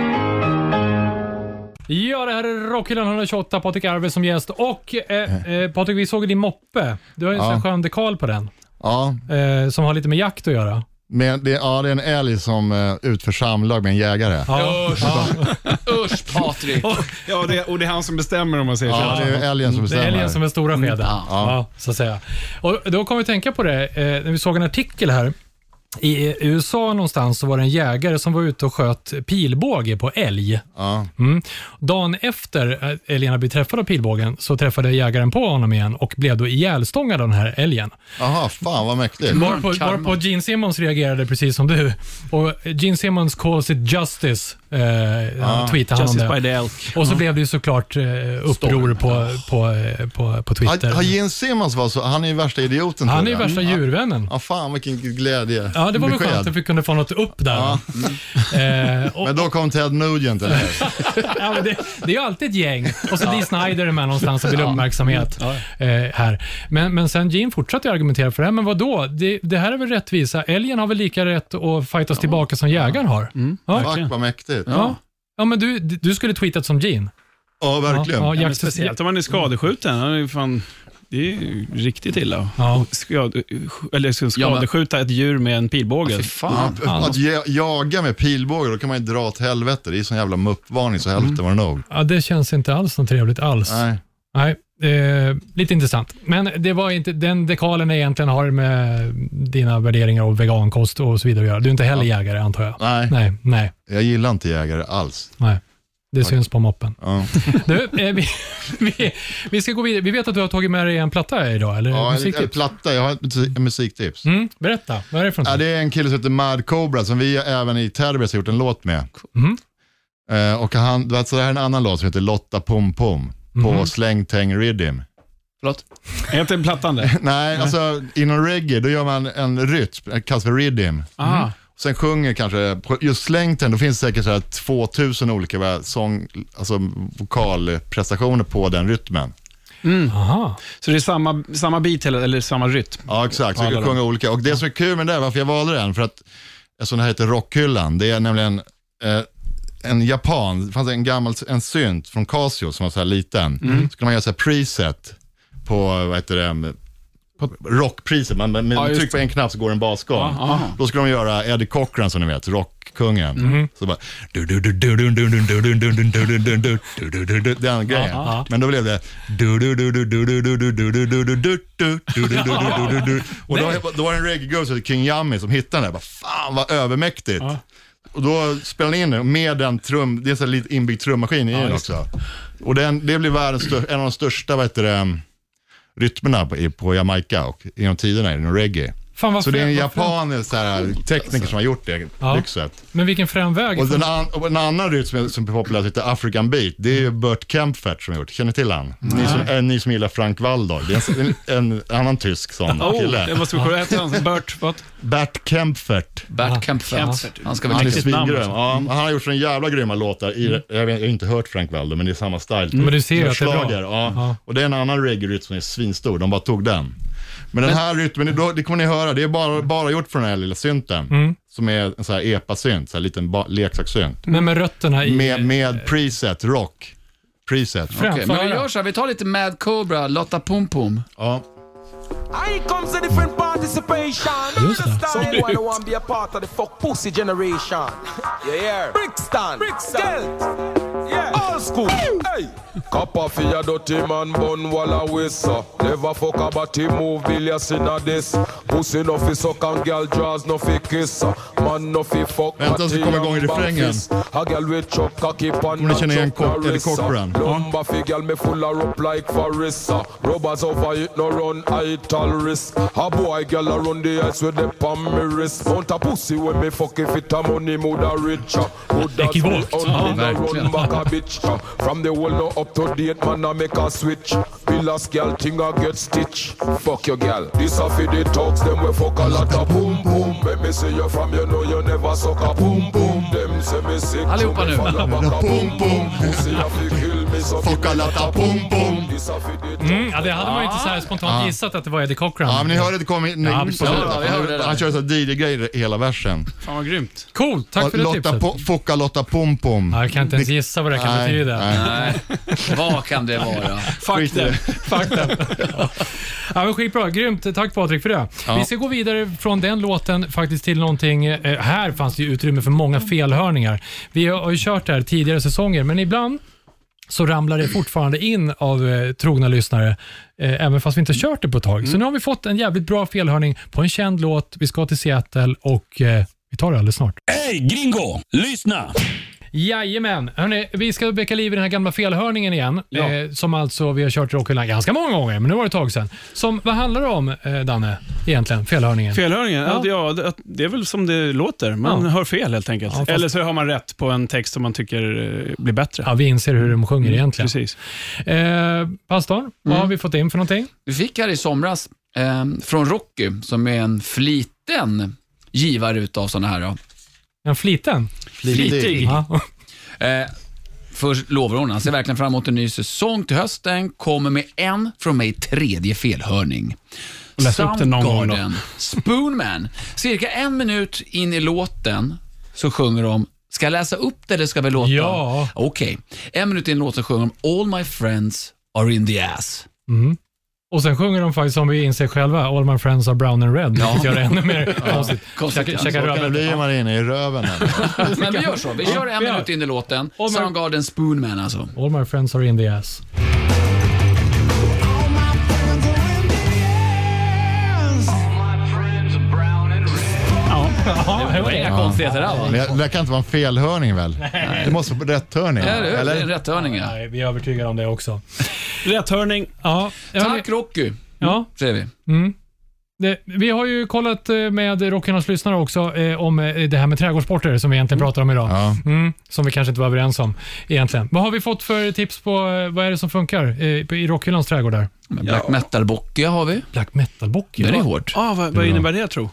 S2: Ja, det här är Rockhyllan 128. Patrik Arve som gäst. Och eh, eh, Patrik, vi såg din moppe. Du har ju en sån
S5: Ja.
S2: skön dekal på den.
S5: Ja,
S2: Eh, som har lite med jakt att göra.
S5: Men det, ja, det är en älg som eh, utför samlag med en jägare. Ja,
S2: Ja.
S3: Usch Patrik!
S1: Ja, det, och det är han som bestämmer om man säger så.
S5: det är ju älgen som
S2: Det är
S5: bestämmer.
S2: älgen som är stora skeden.
S3: Ja.
S2: Ja. så att säga. Och då kom vi att tänka på det, eh, när vi såg en artikel här. I eh, USA någonstans så var det en jägare som var ute och sköt pilbåge på älg.
S5: Ja.
S2: Mm. Dagen efter eh, att älgen hade blivit träffad av pilbågen så träffade jägaren på honom igen och blev då ihjälstångad av den här älgen.
S5: Aha, fan vad mäktigt.
S2: Varpå,
S3: karma.
S2: varpå Gene Simmons reagerade precis som du. Och Gene Simmons calls it justice, eh,
S5: Ah,
S2: han tweetade han om
S1: Justice
S2: det.
S1: by the Elk.
S5: Mm.
S2: Och så blev det ju såklart eh, uppror på, på, eh, på, på Twitter.
S5: Har, har Gene Simmons varit så? Han är ju värsta idioten.
S2: Han är
S5: tror
S2: ju
S5: jag.
S2: värsta
S5: Ja.
S2: djurvännen.
S5: Ja, fan vilken glädje.
S2: Ja, det var väl
S5: Besked.
S2: skönt att vi kunde få något upp där. Eh, och,
S5: Men då kom Ted Nugent, eller hur?
S2: [LAUGHS] ja, men det, det är ju alltid ett gäng. Och så Dee Snider är med någonstans och vill ha uppmärksamhet. Eh, här. Men, men sen Gene fortsatte ju argumentera för det. här, Men vad då? Det, det här är väl rättvisa? Älgen har väl lika rätt att fightas tillbaka som jägaren har? Ja.
S5: Fuck vad mäktigt.
S2: Ja. ja, men du, du skulle tweetat som Gene.
S5: Ja, verkligen.
S2: Ja, ja,
S1: Ja, men
S2: jakt-
S1: speciellt om man är skadeskjuten. Han är ju fan, det är ju riktigt illa.
S2: Ja.
S1: Skad, eller ska skadeskjuta ett djur med en pilbåge.
S3: Fy fan.
S5: Att, att ja- jaga med pilbåge, då kan man ju dra åt helvete. Det är ju sån jävla muppvarning så hälften
S2: Mm.
S5: var det nog.
S2: Ja, det känns inte alls något trevligt alls.
S5: Nej.
S2: Nej, eh, lite intressant. Men det var inte, den dekalen jag egentligen har med dina värderingar och vegankost och så vidare att göra. Du är inte heller jägare antar jag?
S5: Nej.
S2: Nej, nej,
S5: Jag gillar inte jägare alls.
S2: nej. Det syns på moppen.
S5: Ja.
S2: Du, eh, vi, [LAUGHS] vi, vi ska gå vidare. Vi vet att du har tagit med dig en platta idag, eller?
S5: Ja, en, en
S2: Musiktips.
S5: platta, jag har ett musik- musiktips.
S2: Mm, berätta, vad är det för
S5: Ja,
S2: något?
S5: det är en kille som heter Mad Cobra som vi även i Terrorbrace har gjort en låt med.
S2: Mm.
S5: Eh, och han, alltså det här är en annan låt som heter Lotta Pom Pom på Släng Täng Riddim.
S3: Förlåt?
S1: Heter plattan
S3: [LAUGHS]
S1: det?
S5: Nej, alltså inom reggae då gör man en rytm, det kallas för riddim.
S1: Ah.
S5: Sen sjunger kanske, på just slängten, då finns det säkert så här 2000 olika va, sång, alltså vokalprestationer på den rytmen.
S2: Aha.
S1: Så det är samma, samma bit eller, eller samma rytm?
S5: Ja, exakt. Så
S1: Ja,
S5: vi kan
S1: det
S5: sjunga olika. Och det som är kul med det, där, varför jag valde den, för att eftersom det här heter Rockhyllan, det är nämligen eh, en japan, det fanns en gammal en synt från Casio som var så här liten. Så kunde man göra så här preset på, vad heter det, på rockpriset. Man, man, man
S1: just
S5: trycker på en knapp så går en basgång.
S1: Ja,
S5: Då skulle de göra Eddie Cochran som ni vet, rockkungen. Så bara... Den grejen. Men då blev det... Och då, då var det en reggae-gubbe som hette King Yummy som hittade den där. Bara, Fan vad övermäktigt. Och då spelade han in den med den trum, det är så här lite inbyggd trummaskin i den också. Och den, det blev världens stör, en av de största vad heter det, rytmerna på, i- på Jamaica och genom tiderna inom reggae.
S2: Fan, vad
S5: Så det är en
S2: fränt, vad fränt.
S5: japanisk så här, tekniker som har gjort det,
S2: Ja.
S5: lyxet.
S2: Men vilken frän väg.
S5: Och, den an, och en annan rytm som är- som är populär som heter African beat, det är ju Burt Kempfert som har gjort. Känner ni till han? Ni som, äh, ni som gillar Frank Waldau, det är en, en, annan tysk
S1: [LAUGHS]
S5: sån
S1: Oh, det
S5: kille.
S1: måste vi kolla. Hette han Bert? Vad?
S5: Bert Kempfert.
S3: Bert Kempfert. Han ska
S5: Han
S3: väl
S5: är
S1: Mäktigt namn,
S5: svingrym.
S2: alltså.
S5: Ja,
S2: Mm.
S5: han har gjort såna jävla grymma låtar. I, jag, vet, jag har inte hört Frank Waldo, men det är samma style.
S2: Mm. Men du ser ju att det är bra.
S5: Slager, Ja. Och det är en annan reggae-rytm som är svinstor. De bara tog den. Men den här rytmen, det, det kommer ni höra, det är bara, bara gjort från den här lilla synten.
S2: Mm.
S5: Som är en sån här epa-synt, så här liten ba- leksakssynt.
S2: Men med rötterna i...
S5: Med, med preset, rock. Preset.
S3: Okej, men vi gör så här, vi tar lite Mad Cobra, Lotta Pom Pom.
S5: Ja.
S8: Here comes the different participation. Understand why they want to be a part of the fuck pussy generation.
S9: [LAUGHS]
S8: Yeah, yeah. Brixton. Brixton. Yeah. Old school. Hey.
S9: Copper for your dirty man bun wall a waste so. Never fuck a body move billions in a this Pussy no fi suck and girl draws no fi kiss so. Man no fi fuck
S5: Vänta så
S9: body
S5: kommer
S9: and
S5: igång i refrängen.
S9: bang fist. A girl with chop cocky pan
S5: Kommer ni känna igen
S9: and chop
S5: Cock- Eddie
S9: wrist, so.
S5: Cochran?
S9: Lumber fi girl me full a rope like forest so. Rubbers over it no run height all risk A boy girl a run the ice with the palm me wrist Mount a pussy when me fuck if it a money mood a richer Good as
S2: Ekivokt.
S9: me
S2: Ja,
S9: under
S3: verkligen.
S9: run back a bitch. uh, From the wall now up to date, man, I make a switch. Villas girl, thing I get stitch. Fuck your girl. This a for the talks, them we fuck a lot of boom boom. When me see you from, you know you never suck a boom boom. Them say me sick.
S3: Allihopa nu.
S9: Boom boom.
S5: Fuck alla ta pum pum.
S2: Mm, ja, det hade man ju inte så här spontant gissat att det var Eddie Cochran.
S5: Ah. Ja, men ni hörde att det kom in.
S2: Ja, precis.
S3: Ja, vi hörde
S5: han,
S3: det.
S5: han körde så här DJ-grejer hela versen.
S1: Fan vad grymt.
S2: Coolt, tack för det
S5: Lotta
S2: tipset.
S5: po- Fucka Lotta Pom Pom.
S2: Ja, jag kan inte ens gissa vad det kan
S5: Nej,
S2: betyda.
S5: nej.
S3: Nej, vad kan det vara?
S1: Fuck
S5: Skit i det.
S2: [LAUGHS]
S1: them. Fuck them.
S2: Ja, men skitbra. Grymt. Tack Patrik för det. Vi ska gå vidare från den låten faktiskt till någonting. eh, Här fanns det ju utrymme för många felhörningar. Vi har ju kört det här tidigare säsonger, men ibland så ramlar det fortfarande in av eh, trogna lyssnare, eh, även fast vi inte har kört det på ett tag.
S5: Mm.
S2: Så nu har vi fått en jävligt bra felhörning på en känd låt. Vi ska till Seattle och eh, vi tar det alldeles snart.
S4: Hey gringo, lyssna!
S2: Jajamän. Hörrni, vi ska väcka liv i den här gamla felhörningen igen. Eh, som alltså vi har kört i Rockhyllan ganska många gånger, men nu var det ett tag sedan. Som, vad handlar det om, eh, Danne, egentligen? Felhörningen?
S1: Felhörningen? Ja. Ja, det, att- det är väl som det låter. Man
S2: Ja.
S1: hör fel helt enkelt.
S2: Ja, fast-
S1: Eller så har man rätt på en text som man tycker eh, blir bättre.
S2: Ja, vi inser hur de sjunger egentligen.
S1: Precis.
S2: Eh, pastorn, vad har vi fått in för någonting?
S3: Du fick här i somras eh, från Rocky, som är en fliten givare utav sådana här. Då.
S2: En fliten?
S1: Flitig.
S2: Ja. [LAUGHS]
S3: Eh, för lovar hon, han ser verkligen fram emot en ny säsong till hösten, kommer med en från mig tredje felhörning.
S1: Läs upp den någon gång då.
S3: Soundgarden, Spoonman. Cirka en minut in i låten så sjunger de Ska jag läsa upp det eller ska vi låta?
S2: Ja.
S3: Okej. En minut in i låten sjunger de All my friends are in the ass.
S2: Och sen sjunger de faktiskt, som vi inser själva, All my friends are brown and red, vilket gör det ännu mer konstigt.
S3: Konstigt,
S2: Käka-
S3: ja.
S2: käka
S5: Så kan det
S2: rödbetor.
S5: bli när man är inne i röven. här.
S3: Men vi gör så. Vi kör en
S2: vi gör.
S3: minut in i låten.
S2: All my-
S3: Soundgarden, Spoonman alltså.
S2: All my friends are in the ass. Ja, [LAUGHS] det var
S3: Inga
S2: det.
S3: konstigheter där va?
S5: Men jag- det där kan inte vara en felhörning väl? Det måste vara rätt hörning.
S3: Eller hur? Det är en
S5: Eller?
S3: rätthörning ja.
S2: Nej, vi är övertygade om det också.
S1: Rätthörning.
S2: Ja,
S3: Tack Rocky,
S2: Ja,
S3: säger vi.
S2: det, vi har ju kollat eh, med Rockarnas lyssnare också eh, om eh, det här med trädgårdssporter som vi egentligen pratar om idag.
S5: Ja.
S2: Mm, som vi kanske inte var överens om egentligen. Vad har vi fått för tips på eh, vad är det som funkar eh, på- i Rockhyllans trädgårdar?
S3: Men Black metal-bockiga har vi.
S2: Black metal-bock.
S3: Den är hårt.
S1: Ah, vad, vad innebär det tro?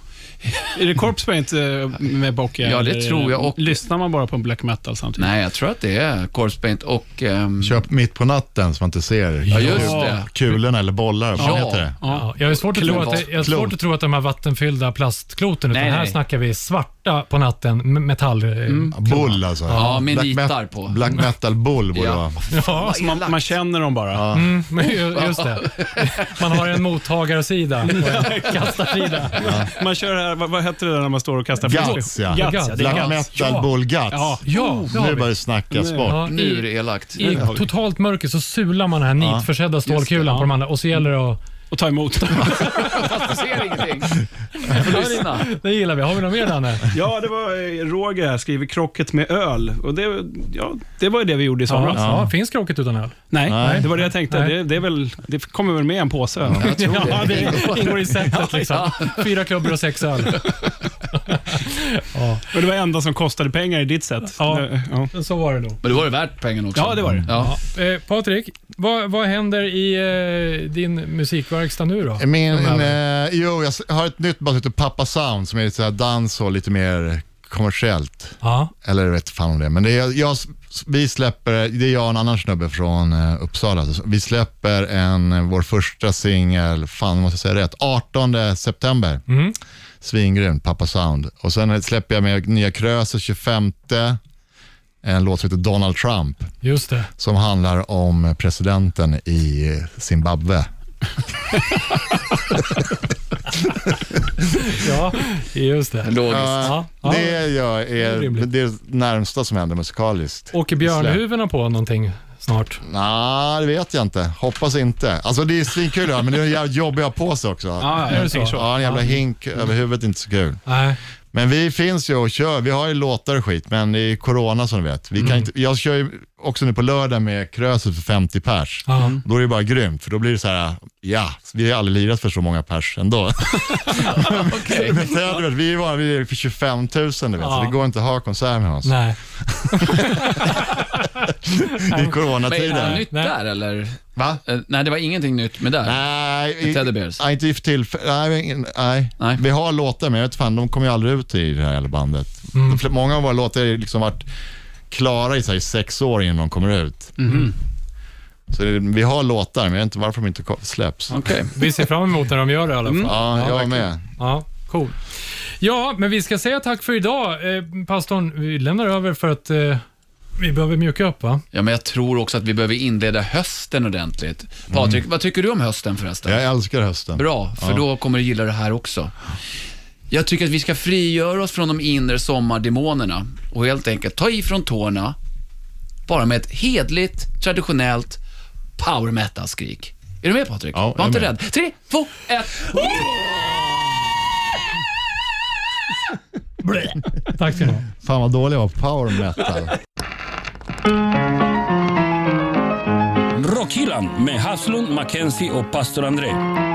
S1: Är det corpse paint eh, med bock?
S3: Ja, det
S1: eller
S3: tror jag och-
S1: Lyssnar man bara på black metal samtidigt?
S3: Nej, jag tror att det är corpse paint och... ehm,
S5: Köp mitt på natten så man inte ser
S3: Ja, just det.
S5: kulorna eller bollar. Vad
S3: Ja.
S5: heter det?
S2: Ja, jag är svårt att, tro
S3: Klot.
S2: att, det- jag är
S5: Klot.
S2: svårt att tro att de här vattenfyllda plastkloten, utan
S3: Nej,
S2: här
S3: nej. Mm.
S2: snackar vi svarta på natten, m- metall... eh,
S5: Bull alltså.
S3: Ja, med
S5: Black
S3: nitar
S5: met-
S3: på.
S5: Black metal bull borde
S3: Ja.
S5: det vara.
S2: Ja,
S1: Alltså, man, man känner dem bara.
S2: mm, men ju- [LAUGHS] just det. Man har en mottagarsida och
S3: [LAUGHS]
S2: en kastarsida.
S1: Man kör här, vad, vad heter det där när man står och kastar
S5: Guts,
S1: flaskor?
S5: ja.
S1: Guts, ja. Det
S5: Black
S1: är guts.
S5: metal bull guts.
S1: Ja.
S2: Ja, det
S5: Nu
S2: har vi.
S5: börjar det snackas bort.
S2: Ja,
S3: Oh, Nu är det
S2: i,
S3: elakt.
S2: I totalt mörker så sular man den här nitförsedda stålkulan på de andra och så gäller det att...
S1: Och ta emot dem.
S3: Jag ser ingenting. [LAUGHS] Jag får lyssna.
S2: Det gillar vi. Har vi något mer Danne?
S1: Ja, det var eh, Roger här, skriver krocket med öl. Och det, ja, det var ju det vi gjorde i
S2: Ja,
S1: somras.
S2: ja. Finns kroket utan öl?
S1: Nej,
S5: Nej.
S1: det var det jag tänkte.
S2: Nej.
S1: Det, det, är väl, det kommer väl med en påse? [LAUGHS]
S3: Jag tror det.
S2: Ja, det ingår i setet liksom. Fyra klubbor och sex öl.
S1: Och det var det enda som kostade pengar i ditt sätt.
S2: Ja.
S1: Det- ja.
S2: Så var det nog.
S3: Men det var det värt pengen också.
S1: Ja, det var det.
S3: Ja.
S2: Eh, Patrik, vad, vad händer i eh, din musikverkstad nu då?
S5: Min, eh, jo, jag s- har ett nytt band som heter Papa Sound som är lite så här dans och lite mer kommersiellt.
S2: Ja.
S5: Eller jag vet fan om det är. Men det är, jag, vi släpper, det är jag och en annan snubbe från eh, Uppsala. Så Vi släpper en, eh, vår första singel, fan måste jag säga rätt, 18 september.
S2: Mhm.
S5: Mm. Svingrymt, Papa Sound. Och sen släpper jag med Nya Krösus 25, en låt som heter Donald Trump,
S2: Just det.
S5: som handlar om presidenten i Zimbabwe.
S2: Ja, just det.
S3: Logiskt.
S2: Ja, ja.
S5: Det jag är
S2: rimligt.
S5: det är det närmsta som händer musikaliskt.
S2: Åker björnhuvorna på någonting snart?
S5: Nej, det vet jag inte. Hoppas inte. Alltså det är svinkul att höra, men det är en jävligt jobbig att ha på sig också.
S1: Ja,
S2: Är det
S1: jag
S2: så?
S1: tänker så.
S5: Ja, en jävla hink över huvudet är inte så kul.
S2: Nej.
S5: Men vi finns ju och kör. Vi har ju låtar och skit, men det är corona som du vet. Vi kan inte, jag kör ju också nu på lördag med Krösus för 50 pers.
S2: Ja.
S5: Då är det bara grymt, för då blir det så här, ja, vi har aldrig lirat för så många pers ändå. [LAUGHS]
S3: Okej.
S5: Men sen, du vet, vi är vana vid för 25 000, du vet, så
S2: Ja.
S5: det går inte att ha konsert med oss.
S2: Nej.
S5: I
S3: Men är det
S5: coronatider.
S3: något nytt
S2: Nej.
S3: där eller?
S5: Va?
S3: Eh, Nej, det var ingenting nytt med där.
S5: Nej, i-
S3: Teddy Bears.
S5: Nej, inte för tillfället. Nej, ingen- nej.
S3: Nej.
S5: Vi har låtar, men jag vet fan, de kommer ju aldrig ut i det här jävla bandet. De fl-
S3: Mm-hmm.
S5: Många av våra låtar har ju liksom varit klara i, så här, i sex år innan de kommer ut. Så det, vi har låtar, men jag vet inte varför de inte ko- släpps.
S3: Okej.
S2: Vi ser fram emot när de gör det i alla fall.
S3: Mm.
S5: Ja, jag med.
S2: Ja, cool. Ja, men vi ska säga tack för idag. Eh, pastorn, vi lämnar över för att eh, vi behöver mjuka upp, va?
S3: Ja, men jag tror också att vi behöver inleda hösten ordentligt. Patrik, vad tycker du om hösten förresten?
S5: Jag älskar hösten.
S3: Bra, för då kommer du gilla det här också. Jag tycker att vi ska frigöra oss från de inre sommardemonerna och helt enkelt ta ifrån tårna, bara med ett hedligt, traditionellt power metal-skrik. Är du med Patrik?
S5: Ja, jag
S3: Var
S5: är
S3: inte
S5: med.
S3: rädd. Tre, två, ett.
S2: Tack ska ni ha.
S5: Fan vad dålig jag var på power metal.
S4: Rockhyllan med Haslund, Mackenzie och pastor André.